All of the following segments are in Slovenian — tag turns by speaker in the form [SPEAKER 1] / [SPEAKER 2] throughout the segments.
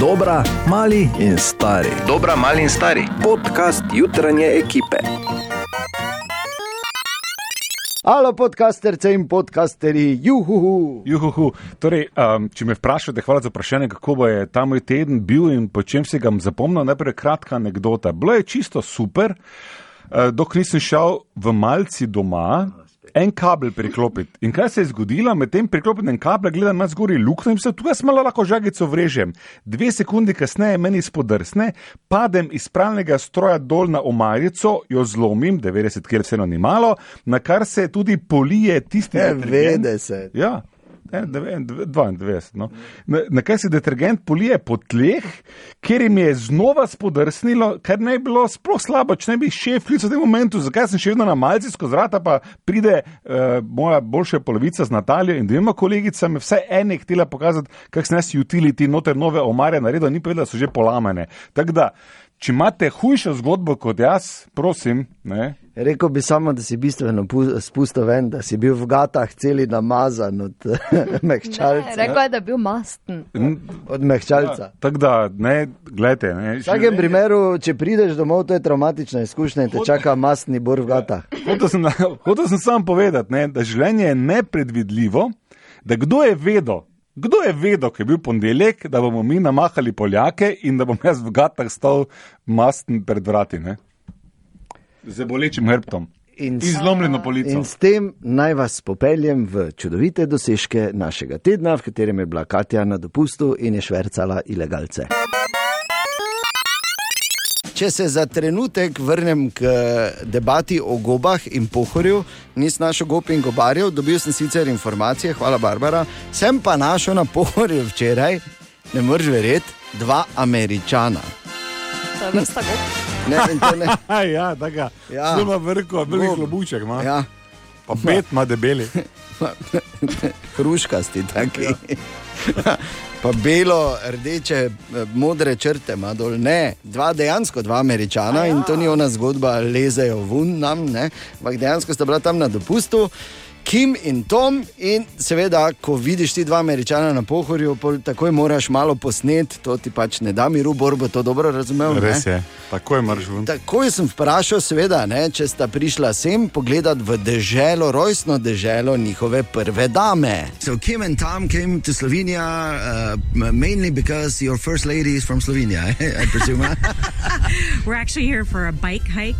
[SPEAKER 1] Dobra, mali in stari.
[SPEAKER 2] Dobra, mali in stari.
[SPEAKER 1] Podcast jutranje ekipe.
[SPEAKER 3] Alo, podcasterce in podcasterji, juhu.
[SPEAKER 4] Juhu, torej, um, če me vprašate, hvala za vprašanje, kako bo je ta moj teden bil in po čem se ga bom zapomnil, najprej kratka anekdota. Bilo je čisto super, eh, dok nisem šel v malci doma. En kabel priklopiti. In kaj se je zgodilo, med tem priklopljenem kablu gledam na zgori luknjo in se tukaj smela lahko žagico vrežem. Dve sekunde kasneje meni spodrsne, padem iz pralnega stroja dol na omarico, jo zlomim, 90 kg vseeno ni malo, na kar se tudi polije tisti detergent.
[SPEAKER 3] 90.
[SPEAKER 4] Ja, en- deve- en- dve- 92. No. Na, na kaj se detergent polije po tleh, kjer jim je znova spodrsnilo, kar ne bi bilo sploh slabo, če ne bi šef klical v tem momentu, zakaj sem še vedno na malci skozi rata, pa pride uh, moja boljša polovica z Natalijo in dvema kolegicami, vse ene je htela pokazati, kak sem jaz utility noter nove omare naredil, ni povedala, da so že polamane. Tako da, če imate hujšo zgodbo kot jaz, prosim, ne.
[SPEAKER 3] Rekl bi samo, da si bistveno pu- spustil ven, da si bil v gatah celi namazan od mehčalca.
[SPEAKER 5] Rekla je, da je bil masten.
[SPEAKER 3] Od mehčalca.
[SPEAKER 4] Tako da, ne, gledajte. Ne,
[SPEAKER 3] V vsakem primeru, če prideš domov, to je traumatična izkušnja in te čaka masni bor v gatah.
[SPEAKER 4] Hotel sem, hotel sem sam povedati, ne, da življenje je nepredvidljivo, da kdo je vedel, kdo je vedel, ko je bil ponedeljek, da bomo mi namahali Poljake in da bom jaz v gatah stal masten pred vrati. Ne? Z bolečim hrbtom.
[SPEAKER 3] In s-
[SPEAKER 4] Izlomljeno polico.
[SPEAKER 3] In s tem naj vas popeljem v čudovite dosežke našega tedna, v katerem je bila Katja na dopustu in je švercala ilegalce. Če se za trenutek vrnem k debati o gobah in pohorju, nisem našel gob in gobarjev, dobil sem sicer informacije, hvala Barbara, sem pa našel na pohorju včeraj, ne moreš verjeti, dva američana.
[SPEAKER 5] To je vrsta gob.
[SPEAKER 3] Ne, in to ne.
[SPEAKER 4] A, ja, da ga.
[SPEAKER 3] Ja.
[SPEAKER 4] Ja. Zelo vrko, velik
[SPEAKER 3] Gob.
[SPEAKER 4] klobuček ima. Ja.
[SPEAKER 3] Ja.
[SPEAKER 4] Pa pet ima debeli.
[SPEAKER 3] hruškasti, taki. pa belo, rdeče, eh, modre črte, ima dol. Ne, dva dejansko, dva američana in to ni ona zgodba, lezejo ven nam, ne, ampak dejansko sta bila tam na dopustu. Kim in Tom, in seveda, ko vidiš ti dva američana na pohorju, pol takoj moraš malo posnet, to ti pač ne da miru, borbo to dobro razumel. ne?
[SPEAKER 4] Res je, tako je mržvun.
[SPEAKER 3] Takoj sem vprašal, seveda, ne, če sta prišla sem pogledat v deželo, rojstno deželo njihove prve dame. So Kim and Tom came to Slovenia uh, mainly because your first lady is from Slovenia, I presume.
[SPEAKER 6] We're actually here for a bike hike,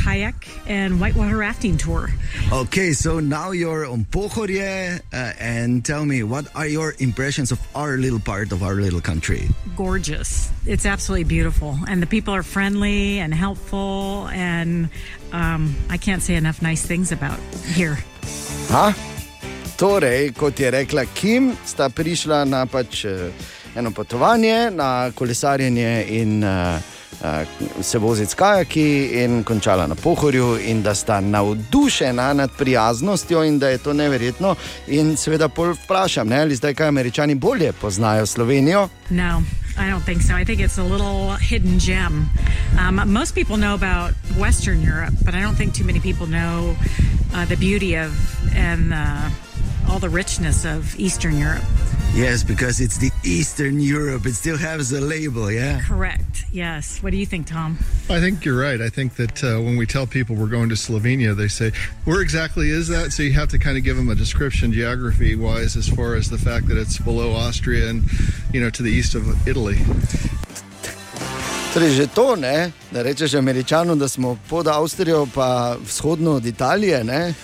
[SPEAKER 6] kayak, and whitewater rafting tour.
[SPEAKER 3] okay, so now you're on Pohorje uh, and tell me what are your impressions of our little part of our little country?
[SPEAKER 6] Gorgeous. It's absolutely beautiful. And the people are friendly and helpful. And um, I can't say enough nice things about here.
[SPEAKER 3] Ha? Torej, kot je rekla Kim, sta prišla na pač eh, eno potovanje, na kolesarjenje in uh, uh, se voziti s kajaki, in končala na pohorju, in da sta navdušena nad prijaznostjo, in da je to neverjetno. In seveda, pol vprašam, ne, ali zdaj kaj američani bolje poznajo Slovenijo.
[SPEAKER 6] No, I don't think so. I think it's a little hidden gem. Um, most people know about Western Europe, but I don't think too many people know uh, the beauty of and uh, all the richness of Eastern Europe.
[SPEAKER 3] Yes, because it's the Eastern Europe, it still has a label, yeah.
[SPEAKER 6] Correct. Yes. What do you think, Tom?
[SPEAKER 7] I think you're right. I think that uh, when we tell people we're going to Slovenia, they say, "Where exactly is that?" So you have to kind of give them a description, geography-wise, as far as the fact that it's below Austria and you know to the east of Italy.
[SPEAKER 3] Torej, že to ne, da rečeš Američanom, da smo pod Avstrijo, pa vzhodno od Italije. Ne?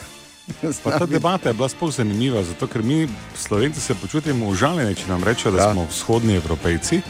[SPEAKER 4] Pa ta debata je bila sploh zanimiva, zato ker mi, Slovenci, se počutimo užaljeni, če nam rečejo, da ja. smo vzhodni evropejci.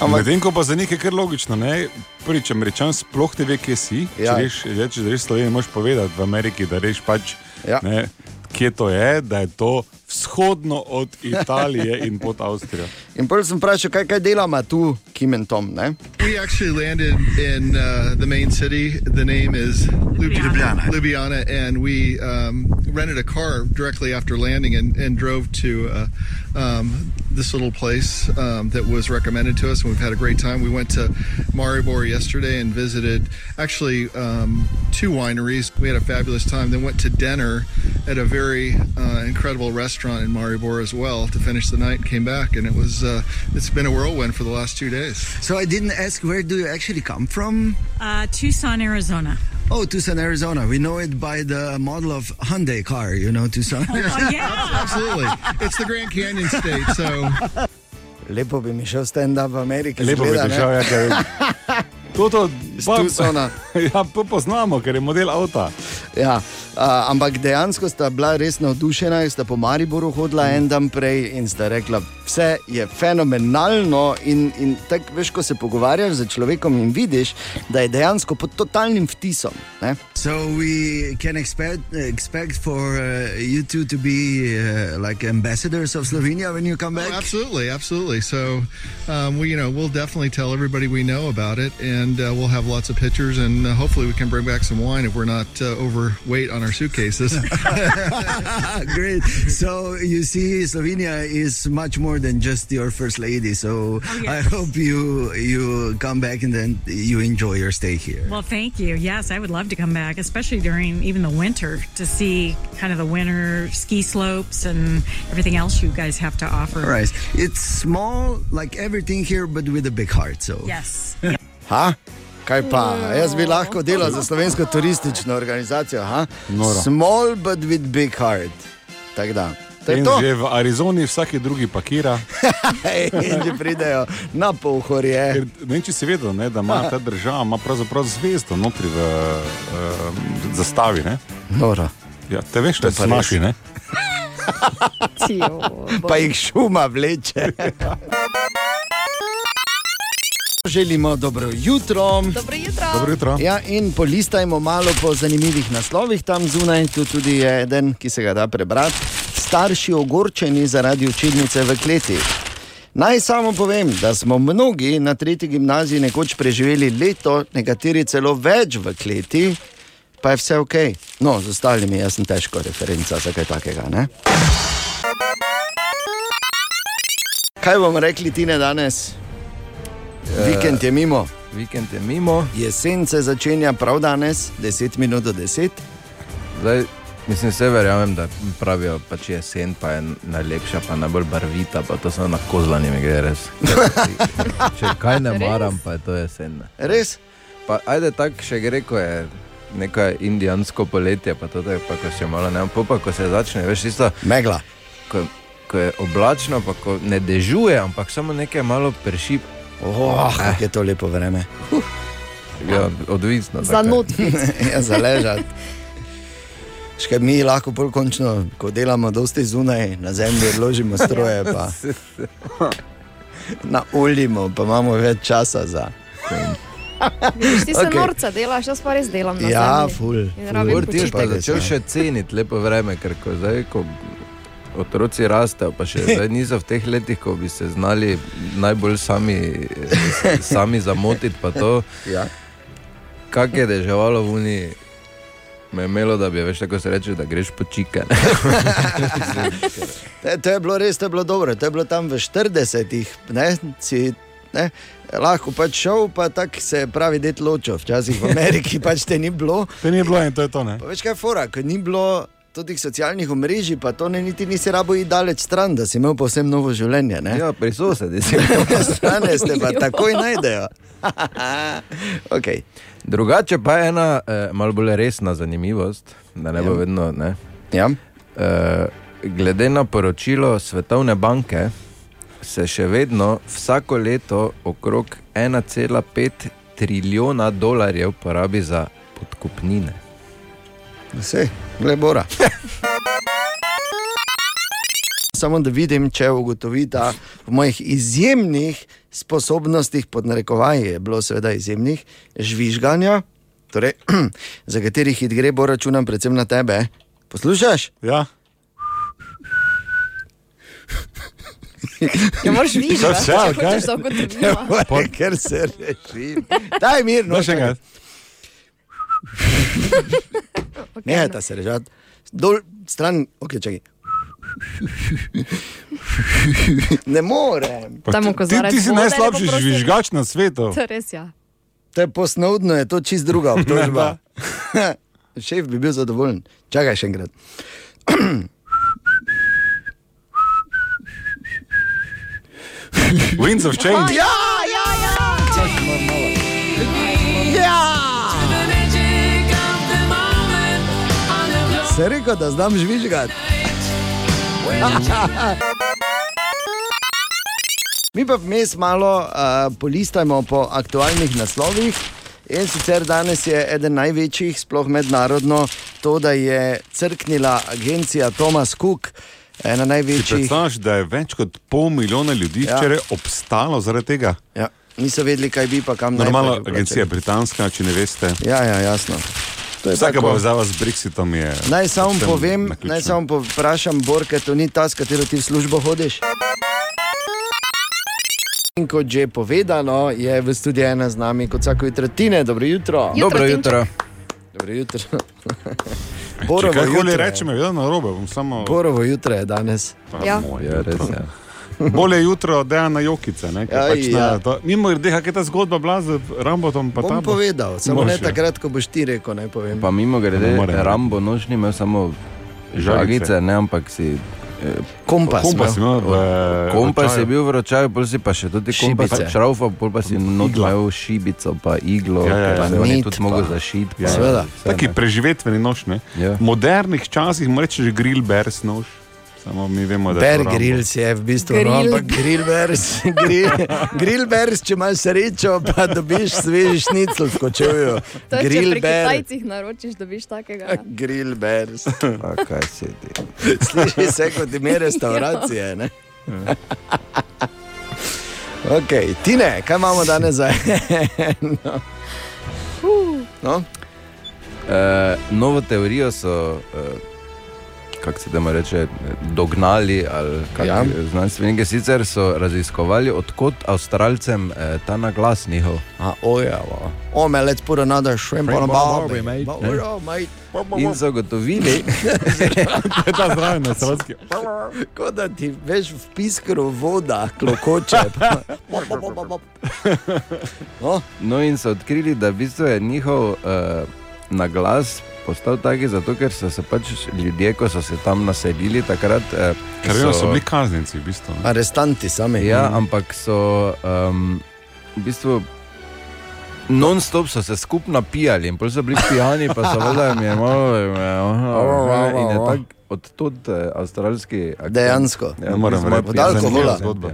[SPEAKER 3] Ampak-
[SPEAKER 4] Medtem ko pa za nekaj kar logično, ne, prvič, američan sploh ne ve, kje si.
[SPEAKER 3] Ja.
[SPEAKER 4] Ja. Če reš, reč, da reš Slovenijo, moš povedati v Ameriki, da reš pač,
[SPEAKER 3] Ja.
[SPEAKER 4] ja. ne, kje to je, da je to vzhodno od Italije in pod Avstrijo.
[SPEAKER 3] In prvi sem vprašal, kaj, kaj delamo tu, Kim in Tom. Ne?
[SPEAKER 7] We actually landed in uh, the main city. The name is Ljub-
[SPEAKER 6] Ljubljana.
[SPEAKER 7] Ljubljana, and we um, rented a car directly after landing and, and drove to uh, um, this little place um, that was recommended to us, and we've had a great time. We went to Maribor yesterday and visited actually um, two wineries. We had a fabulous time. Then went to dinner at a very uh, incredible restaurant in Maribor as well to finish the night. and Came back, and it was uh, it's been a whirlwind for the last two days.
[SPEAKER 3] So I didn't ask where do you actually come from?
[SPEAKER 6] Uh, Tucson, Arizona.
[SPEAKER 3] Oh, Tucson, Arizona. We know it by the model of Hyundai car, you know, Tucson.
[SPEAKER 6] Oh, yeah.
[SPEAKER 7] Absolutely, it's the Grand Canyon state. So
[SPEAKER 3] Lepo bi mi šel stand-up v Ameriki.
[SPEAKER 8] Lepo bi
[SPEAKER 3] izgleda, ne?
[SPEAKER 8] prišel, ja, ker... To, to,
[SPEAKER 3] Iz
[SPEAKER 8] pa-
[SPEAKER 3] Tucsona.
[SPEAKER 8] Ja, pa poznamo, ker je model avta.
[SPEAKER 3] Ja, a, ampak dejansko sta bila res navdušena, in sta po Mariboru hodila en dan prej in sta rekla, vse je fenomenalno. In, in tako veš, ko se pogovarjaš z človekom in vidiš, da je dejansko pod totalnim vtisom. Ne? So we can expect, expect for uh, you two to be uh, like ambassadors of Slovenia when you come
[SPEAKER 7] Oh, absolutely, absolutely. So, um, we you know we'll definitely tell everybody we know about it, and uh, we'll have lots of pictures, and uh, hopefully we can bring back some wine if we're not uh, overweight on our suitcases.
[SPEAKER 3] Great. So you see, Slovenia is much more than just your first lady. So I
[SPEAKER 6] Oh, yes.
[SPEAKER 3] hope you you come back and then you enjoy your stay here.
[SPEAKER 6] Well, thank you. Yes, I would love to come back, especially during even the winter, to see kind of the winter ski slopes and everything else you guys have to offer.
[SPEAKER 3] All right. It's small, like everything here, but with a big heart. So.
[SPEAKER 6] Yes.
[SPEAKER 3] Ha? Kaj pa? Jaz bi lahko delal za slovensko turistično organizacijo. Ha?
[SPEAKER 8] Noro.
[SPEAKER 3] Small, but with big heart. Tako da. To je
[SPEAKER 8] In
[SPEAKER 3] to.
[SPEAKER 8] že v Arizoni vsaki drugi pakira.
[SPEAKER 3] In že pridejo na pohorje.
[SPEAKER 8] Ker, ne vem, če si vedel, ne, da
[SPEAKER 4] Ja.
[SPEAKER 8] ima ta država ima pravzaprav zvezdo notri v uh, zastavi. Ne?
[SPEAKER 3] Noro.
[SPEAKER 8] Ja, te veš, da
[SPEAKER 3] pa
[SPEAKER 8] so
[SPEAKER 3] res.
[SPEAKER 8] naši. Ne?
[SPEAKER 3] pa jih šuma vleče. Želimo dobro jutro.
[SPEAKER 5] Dobro jutro.
[SPEAKER 8] Dobro jutro.
[SPEAKER 3] Ja, in polistajmo malo po zanimivih naslovih tam zunaj. Tu tudi je eden, ki se ga da prebrati. Starši ogorčeni zaradi učilnice v kleti. Naj samo povem, da smo mnogi na tretji gimnaziji nekoč preživeli leto, nekateri celo več v kleti, pa je vse ok. No, z ostalimi jaz sem težko referenca za kaj takega. Ne? Kaj bomo rekli ti ne danes? Vikend je mimo.
[SPEAKER 1] Vikend je mimo,
[SPEAKER 3] Jesen se začenja prav danes, 10 minut do 10.
[SPEAKER 1] zdaj mislim, vse verjamem, da pravijo, pač jesen pa je najlepša, pa najbolj barvita, pa to samo na kozlani mi gre res. Če kaj ne maram, pa je to jesen. ne.
[SPEAKER 3] Res?
[SPEAKER 1] Pa ajde tako še gre, ko je neko indijansko poletje, pa to je pa ko še malo ne, pa ko se začne, veš, tisto,
[SPEAKER 3] Megla.
[SPEAKER 1] ko, ko je oblačno, pa ko ne dežuje, ampak samo nekaj malo prši,
[SPEAKER 3] Oh, eh. Je to lepo vreme.
[SPEAKER 1] ja, odvisno. tako
[SPEAKER 5] Za
[SPEAKER 1] je.
[SPEAKER 5] notki.
[SPEAKER 3] Ja, Zaležati. Še mi lahko bolj končno, ko delamo dosti zunaj, na zemlji odložimo stroje, pa naoljimo, pa imamo več časa za.
[SPEAKER 5] Vidiš, ti se
[SPEAKER 3] Okej.
[SPEAKER 5] okay. norca delaš, jaz pa res delam. Na
[SPEAKER 3] Ja,
[SPEAKER 5] zemlji.
[SPEAKER 3] ful,
[SPEAKER 5] In
[SPEAKER 3] ful.
[SPEAKER 5] rabim
[SPEAKER 1] Gor ti je pa
[SPEAKER 3] počitek.
[SPEAKER 1] začel še ceniti lepo vreme, ker ko zdaj, ko otroci rastejo, pa še zdaj niso v teh letih, ko bi se znali najbolj sami, eh, sami zamotiti, pa to,
[SPEAKER 3] Ja.
[SPEAKER 1] kak je deževalo v Uniji. Me je imelo, da bi več tako se reče, da greš počike. ne.
[SPEAKER 3] E, to je bilo res, to je bilo dobro, to je bilo tam v 40-ih, ne, si, ne, lahko pač šel, pa tako se pravi, det ločo, včasih v Ameriki pač te ni bilo.
[SPEAKER 8] Te ni bilo in to je to. Ne?
[SPEAKER 3] Pa veš kaj, je fora, ko ni bilo tudi socialnih omrežij, pa to ne niti nisi rabo iti daleč stran, da si imel povsem novo življenje. Ne?
[SPEAKER 1] Ja, pri sosedi si.
[SPEAKER 3] Strane ste pa takoj najdejo. okay.
[SPEAKER 1] Drugače pa je ena eh, malo bolj resna zanimivost, da ne bo
[SPEAKER 3] Ja.
[SPEAKER 1] vedno. Ne.
[SPEAKER 3] ja.
[SPEAKER 1] Eh, glede na poročilo Svetovne banke, se še vedno vsako leto okrog 1,5 trilijona dolarjev porabi za podkupnine.
[SPEAKER 3] Vse, glebora. Samo da vidim, če ugotovita v mojih izjemnih sposobnostih, pod narekovaji je bilo seveda izjemnih, žvižganja, torej, za katerih it gre, bo računam predvsem na tebe. Poslušaš?
[SPEAKER 8] Ja,
[SPEAKER 5] Ne moreš videti,
[SPEAKER 8] Vse,
[SPEAKER 3] Ja,
[SPEAKER 5] če
[SPEAKER 8] ali kaj?
[SPEAKER 5] hočeš tako trnila.
[SPEAKER 3] Pore, ker se reši. Daj mirno.
[SPEAKER 8] no, še enkrat.
[SPEAKER 3] Nehajte se režati. dol stran, ok, čakaj. Ne morem.
[SPEAKER 5] Tam
[SPEAKER 4] ti, ti,
[SPEAKER 5] kozarec
[SPEAKER 4] ti si
[SPEAKER 5] vode,
[SPEAKER 4] najslabši
[SPEAKER 5] lepo prosim.
[SPEAKER 4] žvižgač na svetu.
[SPEAKER 5] To je res, ja.
[SPEAKER 3] To je posnovno, je to čist druga obtožba. Šef bi bil zadovoljen. Čakaj še enkrat.
[SPEAKER 4] Winds of Change.
[SPEAKER 3] Ja, ja, ja! Ja! Se rekel, da znam žvižgati. Mi pa vmes malo uh, polistajmo po aktualnih naslovih. In sicer danes je eden največjih, sploh mednarodno, to, da je crknila agencija Thomas Cook, ena
[SPEAKER 4] Si
[SPEAKER 3] največjih.
[SPEAKER 4] Predstavljaš, da je več kot pol milijona ljudi
[SPEAKER 3] Ja.
[SPEAKER 4] ja. včeraj obstalo zaradi tega.
[SPEAKER 3] Ja, niso vedeli, kaj bi pa kam naj
[SPEAKER 4] Normalno,
[SPEAKER 3] bi
[SPEAKER 4] agencija je
[SPEAKER 3] plačali.
[SPEAKER 4] britanska, če ne veste.
[SPEAKER 3] Ja, ja, jasno. To je
[SPEAKER 4] Vsaka
[SPEAKER 3] tako.
[SPEAKER 4] povezava z Brexitom je.
[SPEAKER 3] Naj samo
[SPEAKER 4] povsem
[SPEAKER 3] povem,
[SPEAKER 4] naključna.
[SPEAKER 3] naj samo po- vprašam, Borka, to ni ta, s katero ti v službo hodiš. In kot že povedano, je v studiu ena z nami, kot vsako jutro, tine, dobro jutro.
[SPEAKER 5] Jutro,
[SPEAKER 1] Dobro
[SPEAKER 5] Timček.
[SPEAKER 1] jutro.
[SPEAKER 3] Dobro jutro.
[SPEAKER 4] Če
[SPEAKER 3] Borovo
[SPEAKER 4] karkoli
[SPEAKER 3] jutro,
[SPEAKER 4] rečem, je vedno narobe, bom samo.
[SPEAKER 3] Borovo jutro je danes.
[SPEAKER 4] Pa
[SPEAKER 5] Ja.
[SPEAKER 4] moje
[SPEAKER 1] Ja, res
[SPEAKER 4] jutro.
[SPEAKER 1] je.
[SPEAKER 4] Bolje jutro, da je na jokice. Ne,
[SPEAKER 3] Aj,
[SPEAKER 4] Aj, pač
[SPEAKER 3] ja.
[SPEAKER 4] ja. to, mimo grede, kak je ta zgodba bila z Rambotom. Pa
[SPEAKER 3] Bom
[SPEAKER 4] tabo?
[SPEAKER 3] povedal, samo ne
[SPEAKER 4] Boš, ja.
[SPEAKER 3] takrat, ko boš ti rekel, naj povem.
[SPEAKER 1] Pa mimo grede,
[SPEAKER 4] Ne morem.
[SPEAKER 1] Rambo nož ni imel samo
[SPEAKER 4] Žagice. Eh,
[SPEAKER 1] žagice, ne, ampak si.
[SPEAKER 3] Kompas.
[SPEAKER 4] Kompas imel
[SPEAKER 3] no.
[SPEAKER 4] eh, v,
[SPEAKER 1] Kompas je
[SPEAKER 4] očaju.
[SPEAKER 1] bil v ročaju, pol si pa še tudi kompas
[SPEAKER 3] Šibice.
[SPEAKER 1] šraufal, pol pa si not
[SPEAKER 4] Igla.
[SPEAKER 1] imel šibico, pa iglo,
[SPEAKER 4] Ja, ja, ja.
[SPEAKER 1] pa ne, on je
[SPEAKER 3] Nit
[SPEAKER 1] tudi
[SPEAKER 3] pa.
[SPEAKER 1] mogel zašiti. pa
[SPEAKER 3] Seveda.
[SPEAKER 1] vse,
[SPEAKER 4] Taki
[SPEAKER 1] ja, ne.
[SPEAKER 4] preživetveni nož. Ne?
[SPEAKER 1] Ja.
[SPEAKER 4] V modernih časih mu rečeš grill, bears nož. Samo mi vemo, da je.
[SPEAKER 3] Bear
[SPEAKER 4] to Rambo.
[SPEAKER 3] Grylls je v bistvu, grill. no,
[SPEAKER 5] Grill.
[SPEAKER 3] ampak grillbers, grill, grillbers, če imaš srečo, pa dobiš svež šnicl v kočevju.
[SPEAKER 5] To je, če pri
[SPEAKER 3] Grillbers.
[SPEAKER 5] Kitajcih naročiš, dobiš
[SPEAKER 3] Eh,
[SPEAKER 5] takega. ja.
[SPEAKER 3] Grillbers.
[SPEAKER 1] Pa kaj si ti?
[SPEAKER 3] Sliši se kot
[SPEAKER 5] Ja.
[SPEAKER 3] ime restauracije. Ne? Ok, Tine, kaj imamo danes za eno? No,
[SPEAKER 1] Eh, novo teorijo so, eh, kako se temu reče, dognali. ali kako,
[SPEAKER 3] Ja.
[SPEAKER 1] eh, Znanstveniki sicer so raziskovali, odkot Avstralcem eh, ta naglas njihov.
[SPEAKER 3] a ojavo. O, me let's put another shrimp on a barbie, mate. Barbaro, mate.
[SPEAKER 1] In so ugotovili,
[SPEAKER 4] To je ta zdravljen, avstralski.
[SPEAKER 3] Kot da ti veš v piskru voda, klokoče. pa- No,
[SPEAKER 1] no in so odkrili, da v bistvu je njihov uh, naglas postal taki, zato ker so se pač ljudje, ko so se tam naselili, takrat. eh,
[SPEAKER 4] Ker vedno so bili kaznici, v bistvu. ne.
[SPEAKER 3] arestanti sami.
[SPEAKER 1] Ja, ampak so um, v bistvu. Non-stop so se skupaj napijali in pol so bili pijani, pa so vedeli, da jim je malo. jim je, aha, In je tako od tod eh, avstralski. akcent.
[SPEAKER 3] Dejansko.
[SPEAKER 1] Ja,
[SPEAKER 4] Ne morem
[SPEAKER 1] mislim, da je
[SPEAKER 4] reči,
[SPEAKER 1] bil
[SPEAKER 3] da je
[SPEAKER 1] zanimiva
[SPEAKER 3] alkohola.
[SPEAKER 1] zgodba.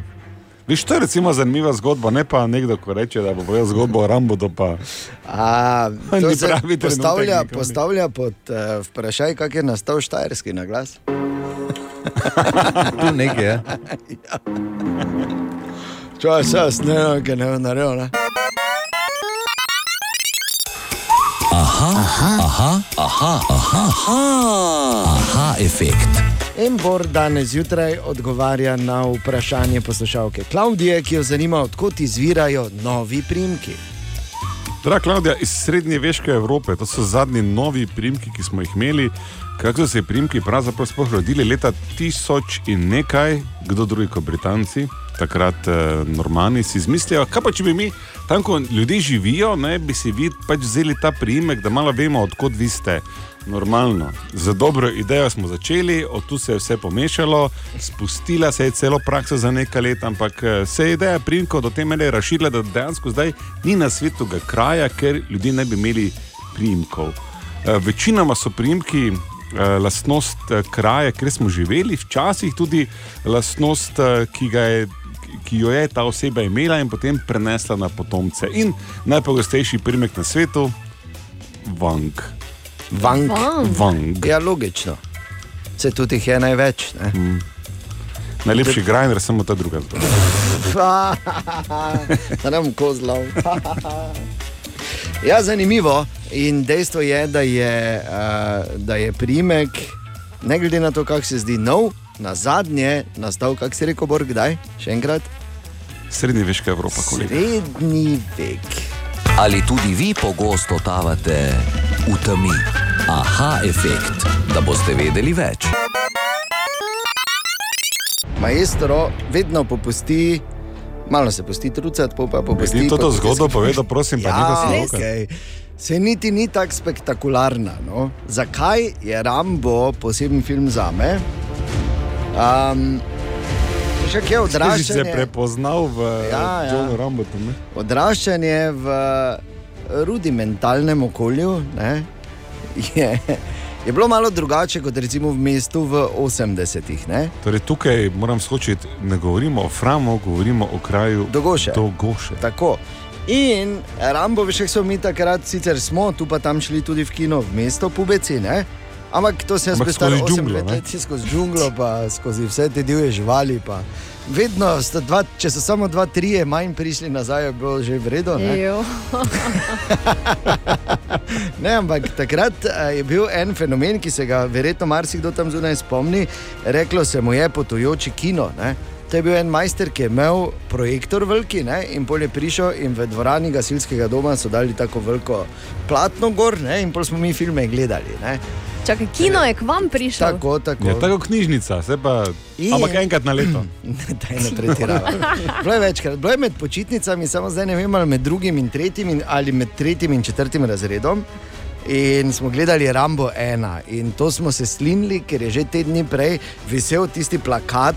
[SPEAKER 4] Viš, to je recimo zanimiva zgodba, ne pa nekdo, ko reče, da bo povedal zgodbo o Rambo, da pa
[SPEAKER 3] A,
[SPEAKER 4] Ni
[SPEAKER 3] to
[SPEAKER 4] pravi
[SPEAKER 3] se
[SPEAKER 4] trenutek
[SPEAKER 3] postavlja,
[SPEAKER 4] nikoli.
[SPEAKER 3] postavlja pod uh, vprašaj, kak je nastal štajerski naglas.
[SPEAKER 1] Tu nekaj je.
[SPEAKER 3] Čuvaj, se jaz ne vem, kaj ne vem, naredil. Ne?
[SPEAKER 9] Aha, efekt.
[SPEAKER 3] Embor danes zjutraj odgovarja na vprašanje poslušalke Klaudije, ki jo zanima, odkot izvirajo novi primki.
[SPEAKER 4] Draga Klaudija, iz srednjeveške Evrope, to so zadnji novi primki, ki smo jih imeli. Kako so se primki pravzaprav sploh rodili leta 1000 in nekaj, kdo drugi kot Britanci, takrat eh, Normani si izmislijo, kaj pa če bi mi tam, ko ljudje živijo, ne, bi si vi pač vzeli ta priimek, da malo vemo, odkot vi ste. Normalno. Za dobro idejo smo začeli, od tu se je vse pomešalo, spustila se je celo praksa za nekaj let, ampak eh, se je ideja primkov do te mere razširila, da dejansko zdaj ni na svetu ga kraja, ker ljudje ne bi imeli primkov. Eh, Večinoma so primki eh, lastnost eh, kraja, kjer smo živeli, včasih tudi lastnost, eh, ki ga je ki jo je ta oseba imela in potem prenesla na potomce. In najpogostejši primek na svetu, vang.
[SPEAKER 3] Vank.
[SPEAKER 5] Hm.
[SPEAKER 4] vang.
[SPEAKER 3] Ja, logično. Se tudi jih je največ. Ne?
[SPEAKER 4] Najlepši grajner, samo ta druga zgodba.
[SPEAKER 3] da nam kozlov. ja, zanimivo. In dejstvo je, da je, uh, da je primek, ne glede na to, kako se zdi nov, na zadnje nastal, kako si rekel, Borg, kdaj? Še enkrat.
[SPEAKER 4] Srednjeveška Evropa, kolega.
[SPEAKER 3] Srednji vek.
[SPEAKER 9] Ali tudi vi pogosto totavate v temi. Aha, efekt, da boste vedeli več.
[SPEAKER 3] Maestro vedno popusti, malo se pusti trucati, pol pa popusti.
[SPEAKER 4] Ti to,
[SPEAKER 3] pa
[SPEAKER 4] to
[SPEAKER 3] popusti-
[SPEAKER 4] zgodbo povedal, prosim, pa nekaj si
[SPEAKER 3] Ja,
[SPEAKER 4] roka.
[SPEAKER 3] okay. Se niti ni tako spektakularna. No? Zakaj je Rambo poseben film za me? Um, še kje
[SPEAKER 4] Ti si se
[SPEAKER 3] odraščanje,
[SPEAKER 4] prepoznal v
[SPEAKER 3] Ja, ja.
[SPEAKER 4] Johnu Rambotu. ne?
[SPEAKER 3] odraščanje v rudimentalnem okolju ne, je, je bilo malo drugače kot recimo v mestu v 80-ih. ne.
[SPEAKER 4] Torej, tukaj moram skočiti, ne govorimo o Framu, govorimo o kraju
[SPEAKER 3] Dogoše.
[SPEAKER 4] Dogoše.
[SPEAKER 3] Tako. In Rambo, veš, kako smo mi takrat sicer smo, tu pa tam šli tudi v kino, v mesto Pubeci. Ne? Ampak to se jaz
[SPEAKER 4] Ampak
[SPEAKER 3] predstavljam
[SPEAKER 4] skozi džunglo, ne?
[SPEAKER 3] leti skozi džunglo, pa skozi vse te divje živali. Pa. Vedno, sta dva, če so samo dva, trije manj prišli nazaj, je bilo že vredno.
[SPEAKER 5] Jo,
[SPEAKER 3] Ne, ampak takrat eh, je bil en fenomen, ki se ga verjetno marsikdo tam zunaj spomni. Reklo se mu je potujoči kino. Ne. To je bil en majster, ki je imel projektor veliki ne, in pol je prišel in v dvorani gasilskega doma so dali tako veliko platno gor ne, in pol smo mi filme gledali. Ne.
[SPEAKER 5] čakaj, kino je k vam prišlo.
[SPEAKER 3] Tako, tako.
[SPEAKER 4] Je Ja, tako knjižnica, se pa,
[SPEAKER 3] In-
[SPEAKER 4] ampak enkrat na leto.
[SPEAKER 3] Da je ne pretiravam. Bilo je večkrat, bilo je med počitnicami, samo zdaj ne vem, ali med drugim in tretjim, in, ali med tretjim in četrtim razredom. In smo gledali Rambo 1, in to smo se slinili, ker je že te dni prej visel tisti plakat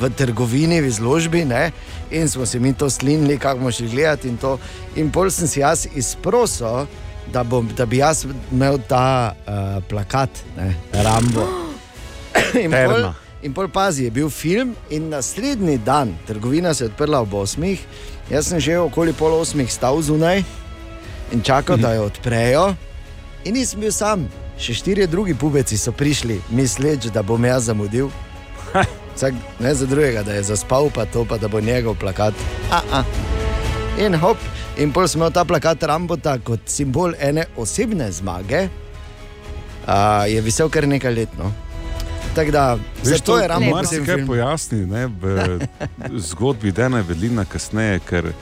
[SPEAKER 3] v trgovini, v izložbi, ne? in smo se mi to slinili, kako bomo šli gledati. In, to. in pol sem si jaz izprosil, da, bom, da bi jaz imel ta uh, plakat, ne? Rambo. In pol,
[SPEAKER 4] Terma.
[SPEAKER 3] in pol pazi, je bil film, in naslednji dan, trgovina se je odprla ob 8. Jaz sem že okoli pol 8 stal zunaj in čakal, da jo odprejo. In nisem bil sam, še štirje drugi pubeci so prišli, misleč, da bom jaz zamudil. Vsak, ne za drugega, da je zaspal, pa to, pa da bo njegov plakat. A, a. In hop, in pol smo imeli ta plakat Rambota kot simbol ene osebne zmage, a, je visel kar nekaj let. No. Tako da, zato je Rambo poseben
[SPEAKER 4] marsikaj
[SPEAKER 3] film.
[SPEAKER 4] pojasni ne, v zgodbi Dana Vedlina kasneje, ker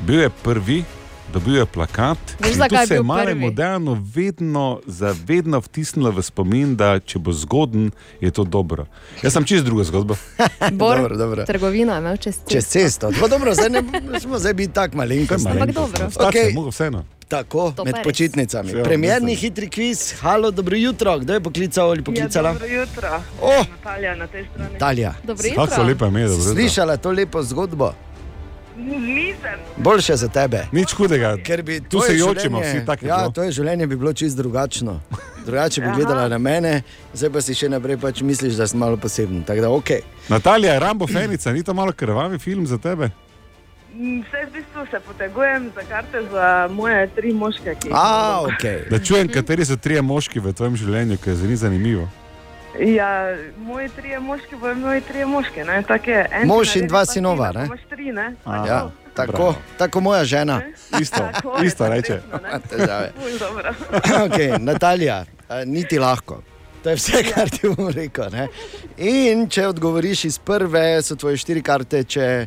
[SPEAKER 4] bil je prvi, dobil je plakat.
[SPEAKER 5] Veš,
[SPEAKER 4] in
[SPEAKER 5] zakaj
[SPEAKER 4] to
[SPEAKER 5] je
[SPEAKER 4] se je
[SPEAKER 5] bil
[SPEAKER 4] malemu
[SPEAKER 5] prvi?
[SPEAKER 4] Danu vedno, za vedno vtisnilo v spomin, da če bo zgoden, je to dobro. Jaz sem čist druga zgodba.
[SPEAKER 5] Bor,
[SPEAKER 3] Dobro, dobro.
[SPEAKER 5] Trgovino je imel čez cesto.
[SPEAKER 3] Čez cesto. Tako dobro, zdaj ne smo zdaj bili tako malenkost.
[SPEAKER 5] Ampak dobro.
[SPEAKER 4] Vstač okay.
[SPEAKER 3] Okej.
[SPEAKER 4] sem mogel vseeno.
[SPEAKER 3] Tako,
[SPEAKER 5] To
[SPEAKER 3] med
[SPEAKER 5] pa res.
[SPEAKER 3] počitnicami.
[SPEAKER 4] Ja,
[SPEAKER 3] Premjerni
[SPEAKER 4] mislim.
[SPEAKER 3] hitri kviz, halo, dobro jutro. Kdo je poklical ali poklicala?
[SPEAKER 10] jutro.
[SPEAKER 3] O!
[SPEAKER 10] Natalija na tej strani.
[SPEAKER 3] Dalja.
[SPEAKER 5] Ja, Dobro
[SPEAKER 4] Tako so
[SPEAKER 5] jutro.
[SPEAKER 4] lepa imena.
[SPEAKER 3] Si Slišala to lepo zgodbo,
[SPEAKER 10] Nisem.
[SPEAKER 3] boljše za tebe.
[SPEAKER 4] Nič hudega.
[SPEAKER 3] Ker bi
[SPEAKER 4] tu
[SPEAKER 3] tvoje
[SPEAKER 4] se jočimo,
[SPEAKER 3] življenje-
[SPEAKER 4] vsi tako.
[SPEAKER 3] Ja, to je življenje bi bilo čisto drugačno. Drugače bi gledala na mene, zdaj pa si še naprej pač misliš, da si malo poseben. Tako da, ok.
[SPEAKER 4] Natalija, Rambo Fenica, ni to malo krvavi film za tebe?
[SPEAKER 10] Mm, Vse v bistvu se potegujem za karte za moje tri moške, ki jih
[SPEAKER 3] A, ok.
[SPEAKER 4] Da čujem, kateri so trije moški v tvojem življenju, ker je zelo zanimivo.
[SPEAKER 10] Ja, moji trije moški bojo imeli trije moške. Ne? tak je. En
[SPEAKER 3] Mož
[SPEAKER 10] si
[SPEAKER 3] in
[SPEAKER 10] naredi
[SPEAKER 3] dva
[SPEAKER 10] pa
[SPEAKER 3] sinova,
[SPEAKER 10] sina,
[SPEAKER 3] ne?
[SPEAKER 10] pa Imaš tri, ne?
[SPEAKER 3] Ja, tako, tako moja žena.
[SPEAKER 4] Isto,
[SPEAKER 10] Tako je,
[SPEAKER 4] isto
[SPEAKER 10] tako
[SPEAKER 4] reče.
[SPEAKER 10] resno, ne.
[SPEAKER 3] Težave.
[SPEAKER 10] Ful dobro.
[SPEAKER 3] okay, Natalija, eh, ni ti lahko. To je vse, kar ti bom rekel. Ne? In če odgovoriš iz prve, so tvoje štiri karte, če eh,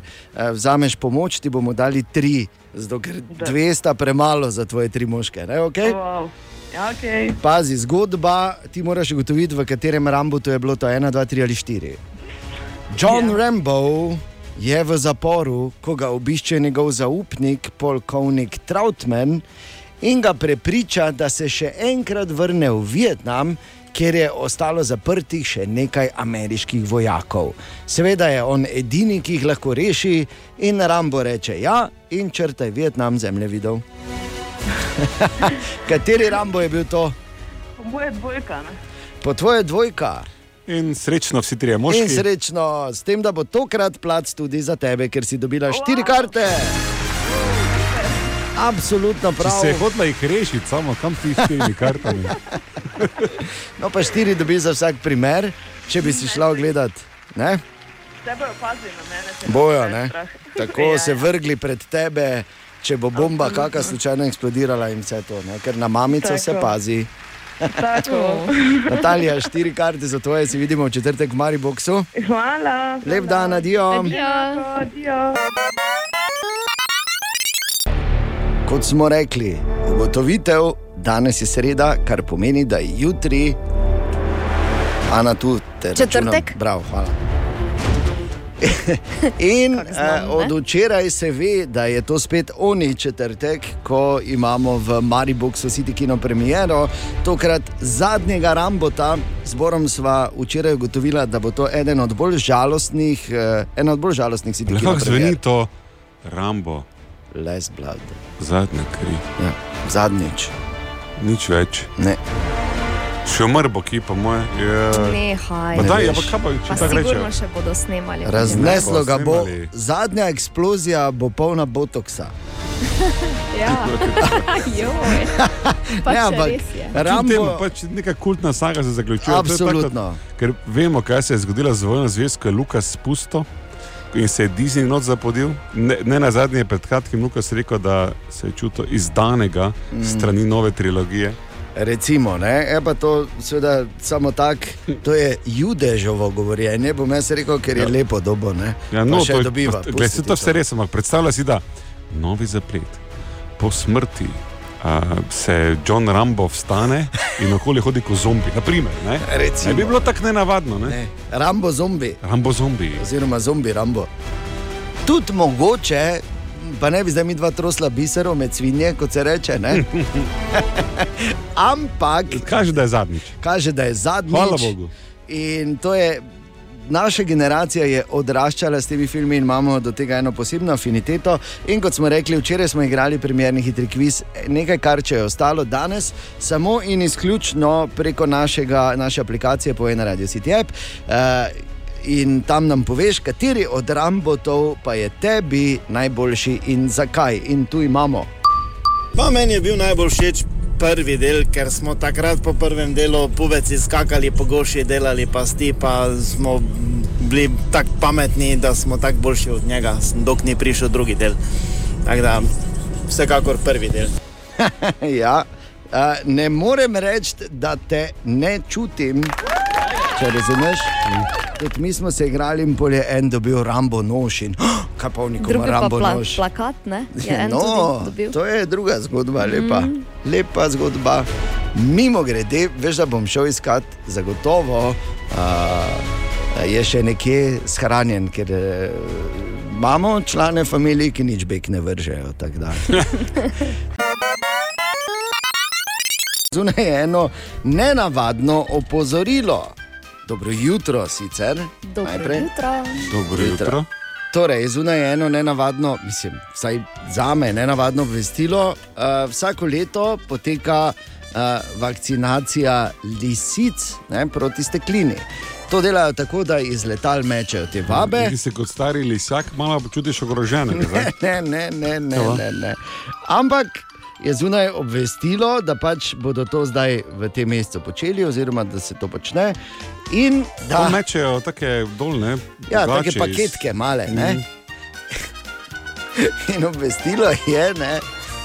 [SPEAKER 3] vzameš pomoč, ti bomo dali tri, zato ker dve sta premalo za tvoje tri moške. Ne? Okay?
[SPEAKER 10] Wow. Ja, okay.
[SPEAKER 3] Pazi, zgodba, ti moraš ugotoviti, v katerem Rambo je bilo to 1, 2, 3 ali 4. John yeah. Rambo je v zaporu, ko ga obišče njegov zaupnik, polkovnik Trautmann, in ga prepriča, da se še enkrat vrne v Vietnam. Ker je ostalo zaprtih še nekaj ameriških vojakov. Seveda je on edini, ki jih lahko reši, in Rambo reče: Ja, in črtaj Vietnam zemljevidov. Kateri Rambo je bil to?
[SPEAKER 10] Po moje dvojka. Ne?
[SPEAKER 3] Po tvoje dvojka
[SPEAKER 4] In srečno vsi trije
[SPEAKER 3] Moški. in
[SPEAKER 4] moški.
[SPEAKER 3] srečno, s tem, da bo tokrat plac tudi za tebe, ker si dobila štiri wow.
[SPEAKER 10] Wow.
[SPEAKER 3] karte. Absolutno
[SPEAKER 4] Če
[SPEAKER 3] prav.
[SPEAKER 4] se je hotela jih rešiti, samo kam ti s temi kartami.
[SPEAKER 3] No, pa štiri dobiš za vsak primer, če bi si šla ogledat. Ne?
[SPEAKER 10] Vse bojo pazili na mene. če
[SPEAKER 3] Bojo,
[SPEAKER 10] me
[SPEAKER 3] ne?
[SPEAKER 10] strah.
[SPEAKER 3] Tako
[SPEAKER 10] Ja,
[SPEAKER 3] se
[SPEAKER 10] ja.
[SPEAKER 3] vrgli pred tebe, če bo bomba kakšna slučajno eksplodirala in vse to, ne? ker na mamico Tako. se
[SPEAKER 10] Tako.
[SPEAKER 3] pazi.
[SPEAKER 10] Tako.
[SPEAKER 3] Natalija, štiri karte za tvoje, se vidimo v četrtek v Mariboku.
[SPEAKER 10] Hvala.
[SPEAKER 3] Lep dan, adijo.
[SPEAKER 5] Ja,
[SPEAKER 10] Adijo.
[SPEAKER 3] Ko Kot smo rekli, ugotovitev danes je sreda, kar pomeni, da je jutri, Ana tu te računam.
[SPEAKER 5] Četrtek?
[SPEAKER 3] Bravo, hvala. In
[SPEAKER 5] Kar znam,
[SPEAKER 3] eh, od
[SPEAKER 5] Torej ne?
[SPEAKER 3] včeraj se ve, da je to spet oni četrtek, ko imamo v Mariboku City Kino premiero, tokrat zadnjega Rambota. Zborom sva včeraj ugotovila, da bo to eden od bolj žalostnih, eh, ena od bolj žalostnih City Kino
[SPEAKER 4] Lahko zveni
[SPEAKER 3] premier.
[SPEAKER 4] to Rambo,
[SPEAKER 3] Les Blad,
[SPEAKER 4] zadnja kri,
[SPEAKER 3] ja. zadnjič.
[SPEAKER 4] nič več.
[SPEAKER 3] Ne.
[SPEAKER 4] Še umr bo ki, po moje. Je...
[SPEAKER 5] Nehaj.
[SPEAKER 4] Pa
[SPEAKER 3] Ne
[SPEAKER 4] daj, ja,
[SPEAKER 3] veš.
[SPEAKER 4] pa kaj pa,
[SPEAKER 5] Pa
[SPEAKER 4] če tako
[SPEAKER 5] sigurno
[SPEAKER 4] rečejo?
[SPEAKER 5] še bodo snemali.
[SPEAKER 3] Razneslo ga bo,
[SPEAKER 4] Posnemali.
[SPEAKER 3] zadnja eksplozija bo polna botoksa.
[SPEAKER 5] Ja, joj. Pa
[SPEAKER 3] Ne,
[SPEAKER 5] ne,
[SPEAKER 3] ampak-
[SPEAKER 5] ampak... res je.
[SPEAKER 4] Kljub temu
[SPEAKER 3] Rambo,
[SPEAKER 4] pač neka kultna saga se zaključuje. To je tako,
[SPEAKER 3] absolutno.
[SPEAKER 4] Ker vemo, kaj se je zgodilo z vojno zvezdo, ko je Lukas spustil in se je Disney noč zapodil. Ne, ne na zadnje je pred kratkim Lukas rekel, da se je čutil izdanega mm. strani nove trilogije.
[SPEAKER 3] Recimo, ne, je pa to seveda samo tako, to je judežovo govorjenje, bom jaz rekel, ker je ja. lepo dobo. Ne.
[SPEAKER 4] Ja,
[SPEAKER 3] Pa
[SPEAKER 4] no,
[SPEAKER 3] še
[SPEAKER 4] to je-
[SPEAKER 3] dobiva,
[SPEAKER 4] pa- Glej,
[SPEAKER 3] pusti
[SPEAKER 4] se to
[SPEAKER 3] ti
[SPEAKER 4] vse
[SPEAKER 3] to.
[SPEAKER 4] res, ampak predstavlja si, da novi zaplet. Po smrti a, se John Rambo vstane in okoli hodi kot zombi. Naprimer, ne? ne
[SPEAKER 3] Recimo.
[SPEAKER 4] bi bilo tako nenavadno. Ne? Ne.
[SPEAKER 3] Ne. Rambo zombi,
[SPEAKER 4] Rambo zombi.
[SPEAKER 3] oziroma zombi Rambo. Tudi mogoče, pa ne bi zdaj mi dva trosla biserov med svinje, kot se reče. ne. Ampak
[SPEAKER 4] Kaže, da je zadnjič.
[SPEAKER 3] kaže, da je zadnji.
[SPEAKER 4] Hvala Bogu.
[SPEAKER 3] In to je. Naša generacija je odraščala s temi filmi in imamo do tega eno posebno afiniteto. In kot smo rekli, včeraj smo igrali primerni hitri kviz, nekaj, kar če je ostalo danes, samo in izključno preko našega, naše aplikacije Poje na Radio City App. Uh, in tam nam poveš, kateri od rambotov pa je tebi najboljši in zakaj. In tu imamo.
[SPEAKER 11] Pa meni je bil najbolj všeč prvi del, ker smo takrat po prvem delu pubeci skakali po goši, delali pasti, pa smo bili tako pametni, da smo tako boljši od njega, dok ni prišel drugi del. Tako da, vsekakor prvi del.
[SPEAKER 3] Ja, uh, ne morem reči, da te ne čutim, če razumeš. Tudi mi smo se igrali in pol je en dobil Rambo nož in oh, kaj pa oni, ko ima
[SPEAKER 5] Drugi pa
[SPEAKER 3] Rambo
[SPEAKER 5] pla,
[SPEAKER 3] nož.
[SPEAKER 5] plakat, ne? Je en
[SPEAKER 3] No,
[SPEAKER 5] tudi dobil.
[SPEAKER 3] to je druga zgodba, lepa, mm. lepa zgodba. Mimo grede, veš, da bom šel iskat, zagotovo uh, je še nekje shranjen, ker eh, imamo člane družine, ki nič bek ne vržejo. tako da. Zunaj je eno nenavadno opozorilo. Dobro jutro, sicer.
[SPEAKER 5] Dobro jutro.
[SPEAKER 4] Dobro
[SPEAKER 3] Jutro.
[SPEAKER 4] jutro.
[SPEAKER 3] Torej, zunaj je eno nenavadno, mislim, vsaj za me nenavadno obvestilo. Uh, vsako leto poteka uh, vakcinacija lisic ne, proti steklini. To delajo tako, da iz letal mečejo te vabe.
[SPEAKER 4] Ti si kot stari lisjak, malo počutiš ogroženega. zdaj.
[SPEAKER 3] Ne, ne, ne, ne, ne, ne. Ampak je zunaj obvestilo, da pač bodo to zdaj v tem mesecu počeli, oziroma da se to počne. In da
[SPEAKER 4] Tam mečejo Ja. take dolne.
[SPEAKER 3] Ja, take paketke male. Mm. In obvestilo je, ne,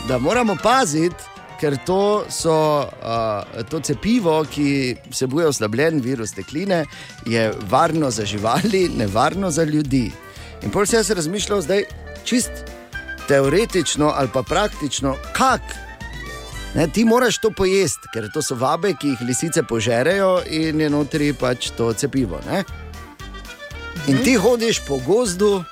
[SPEAKER 3] da moramo paziti, ker to, so, uh, to cepivo, ki vsebuje oslabljen virus tekline, je varno za živali, nevarno za ljudi. In pol se jaz razmišljal, zdaj čist teoretično ali pa praktično, kako. Ne, ti moraš to pojesti, ker to so vabe, ki jih lisice požerejo, in je notri pač to cepivo. Ne? In ti hodiš po gozdu,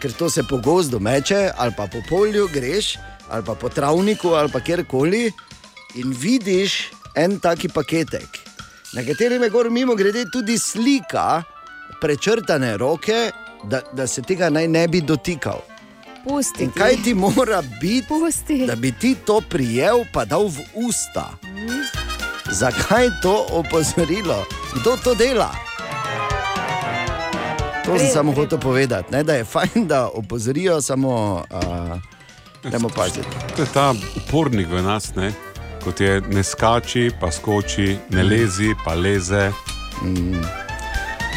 [SPEAKER 3] ker to se po gozdu meče, ali pa po polju greš, ali pa po travniku, ali pa kjerkoli, in vidiš en taki paketek, na katerem je gor mimo grede tudi slika, prečrtane roke, da, da se tega naj ne bi dotikal.
[SPEAKER 5] Pusti.
[SPEAKER 3] In kaj ti mora biti?
[SPEAKER 5] Pusti.
[SPEAKER 3] da bi ti to prijel, pa dal v usta. Zakaj to opozorilo? Kdo to dela? To sem
[SPEAKER 5] Vredno,
[SPEAKER 3] samo
[SPEAKER 5] vredno.
[SPEAKER 3] hotel povedati, ne, da je fajn, da opozorijo, samo uh, da mu paziti.
[SPEAKER 4] To je ta upornik v nas, ne? kot je ne skači, pa skoči, ne lezi, pa leze.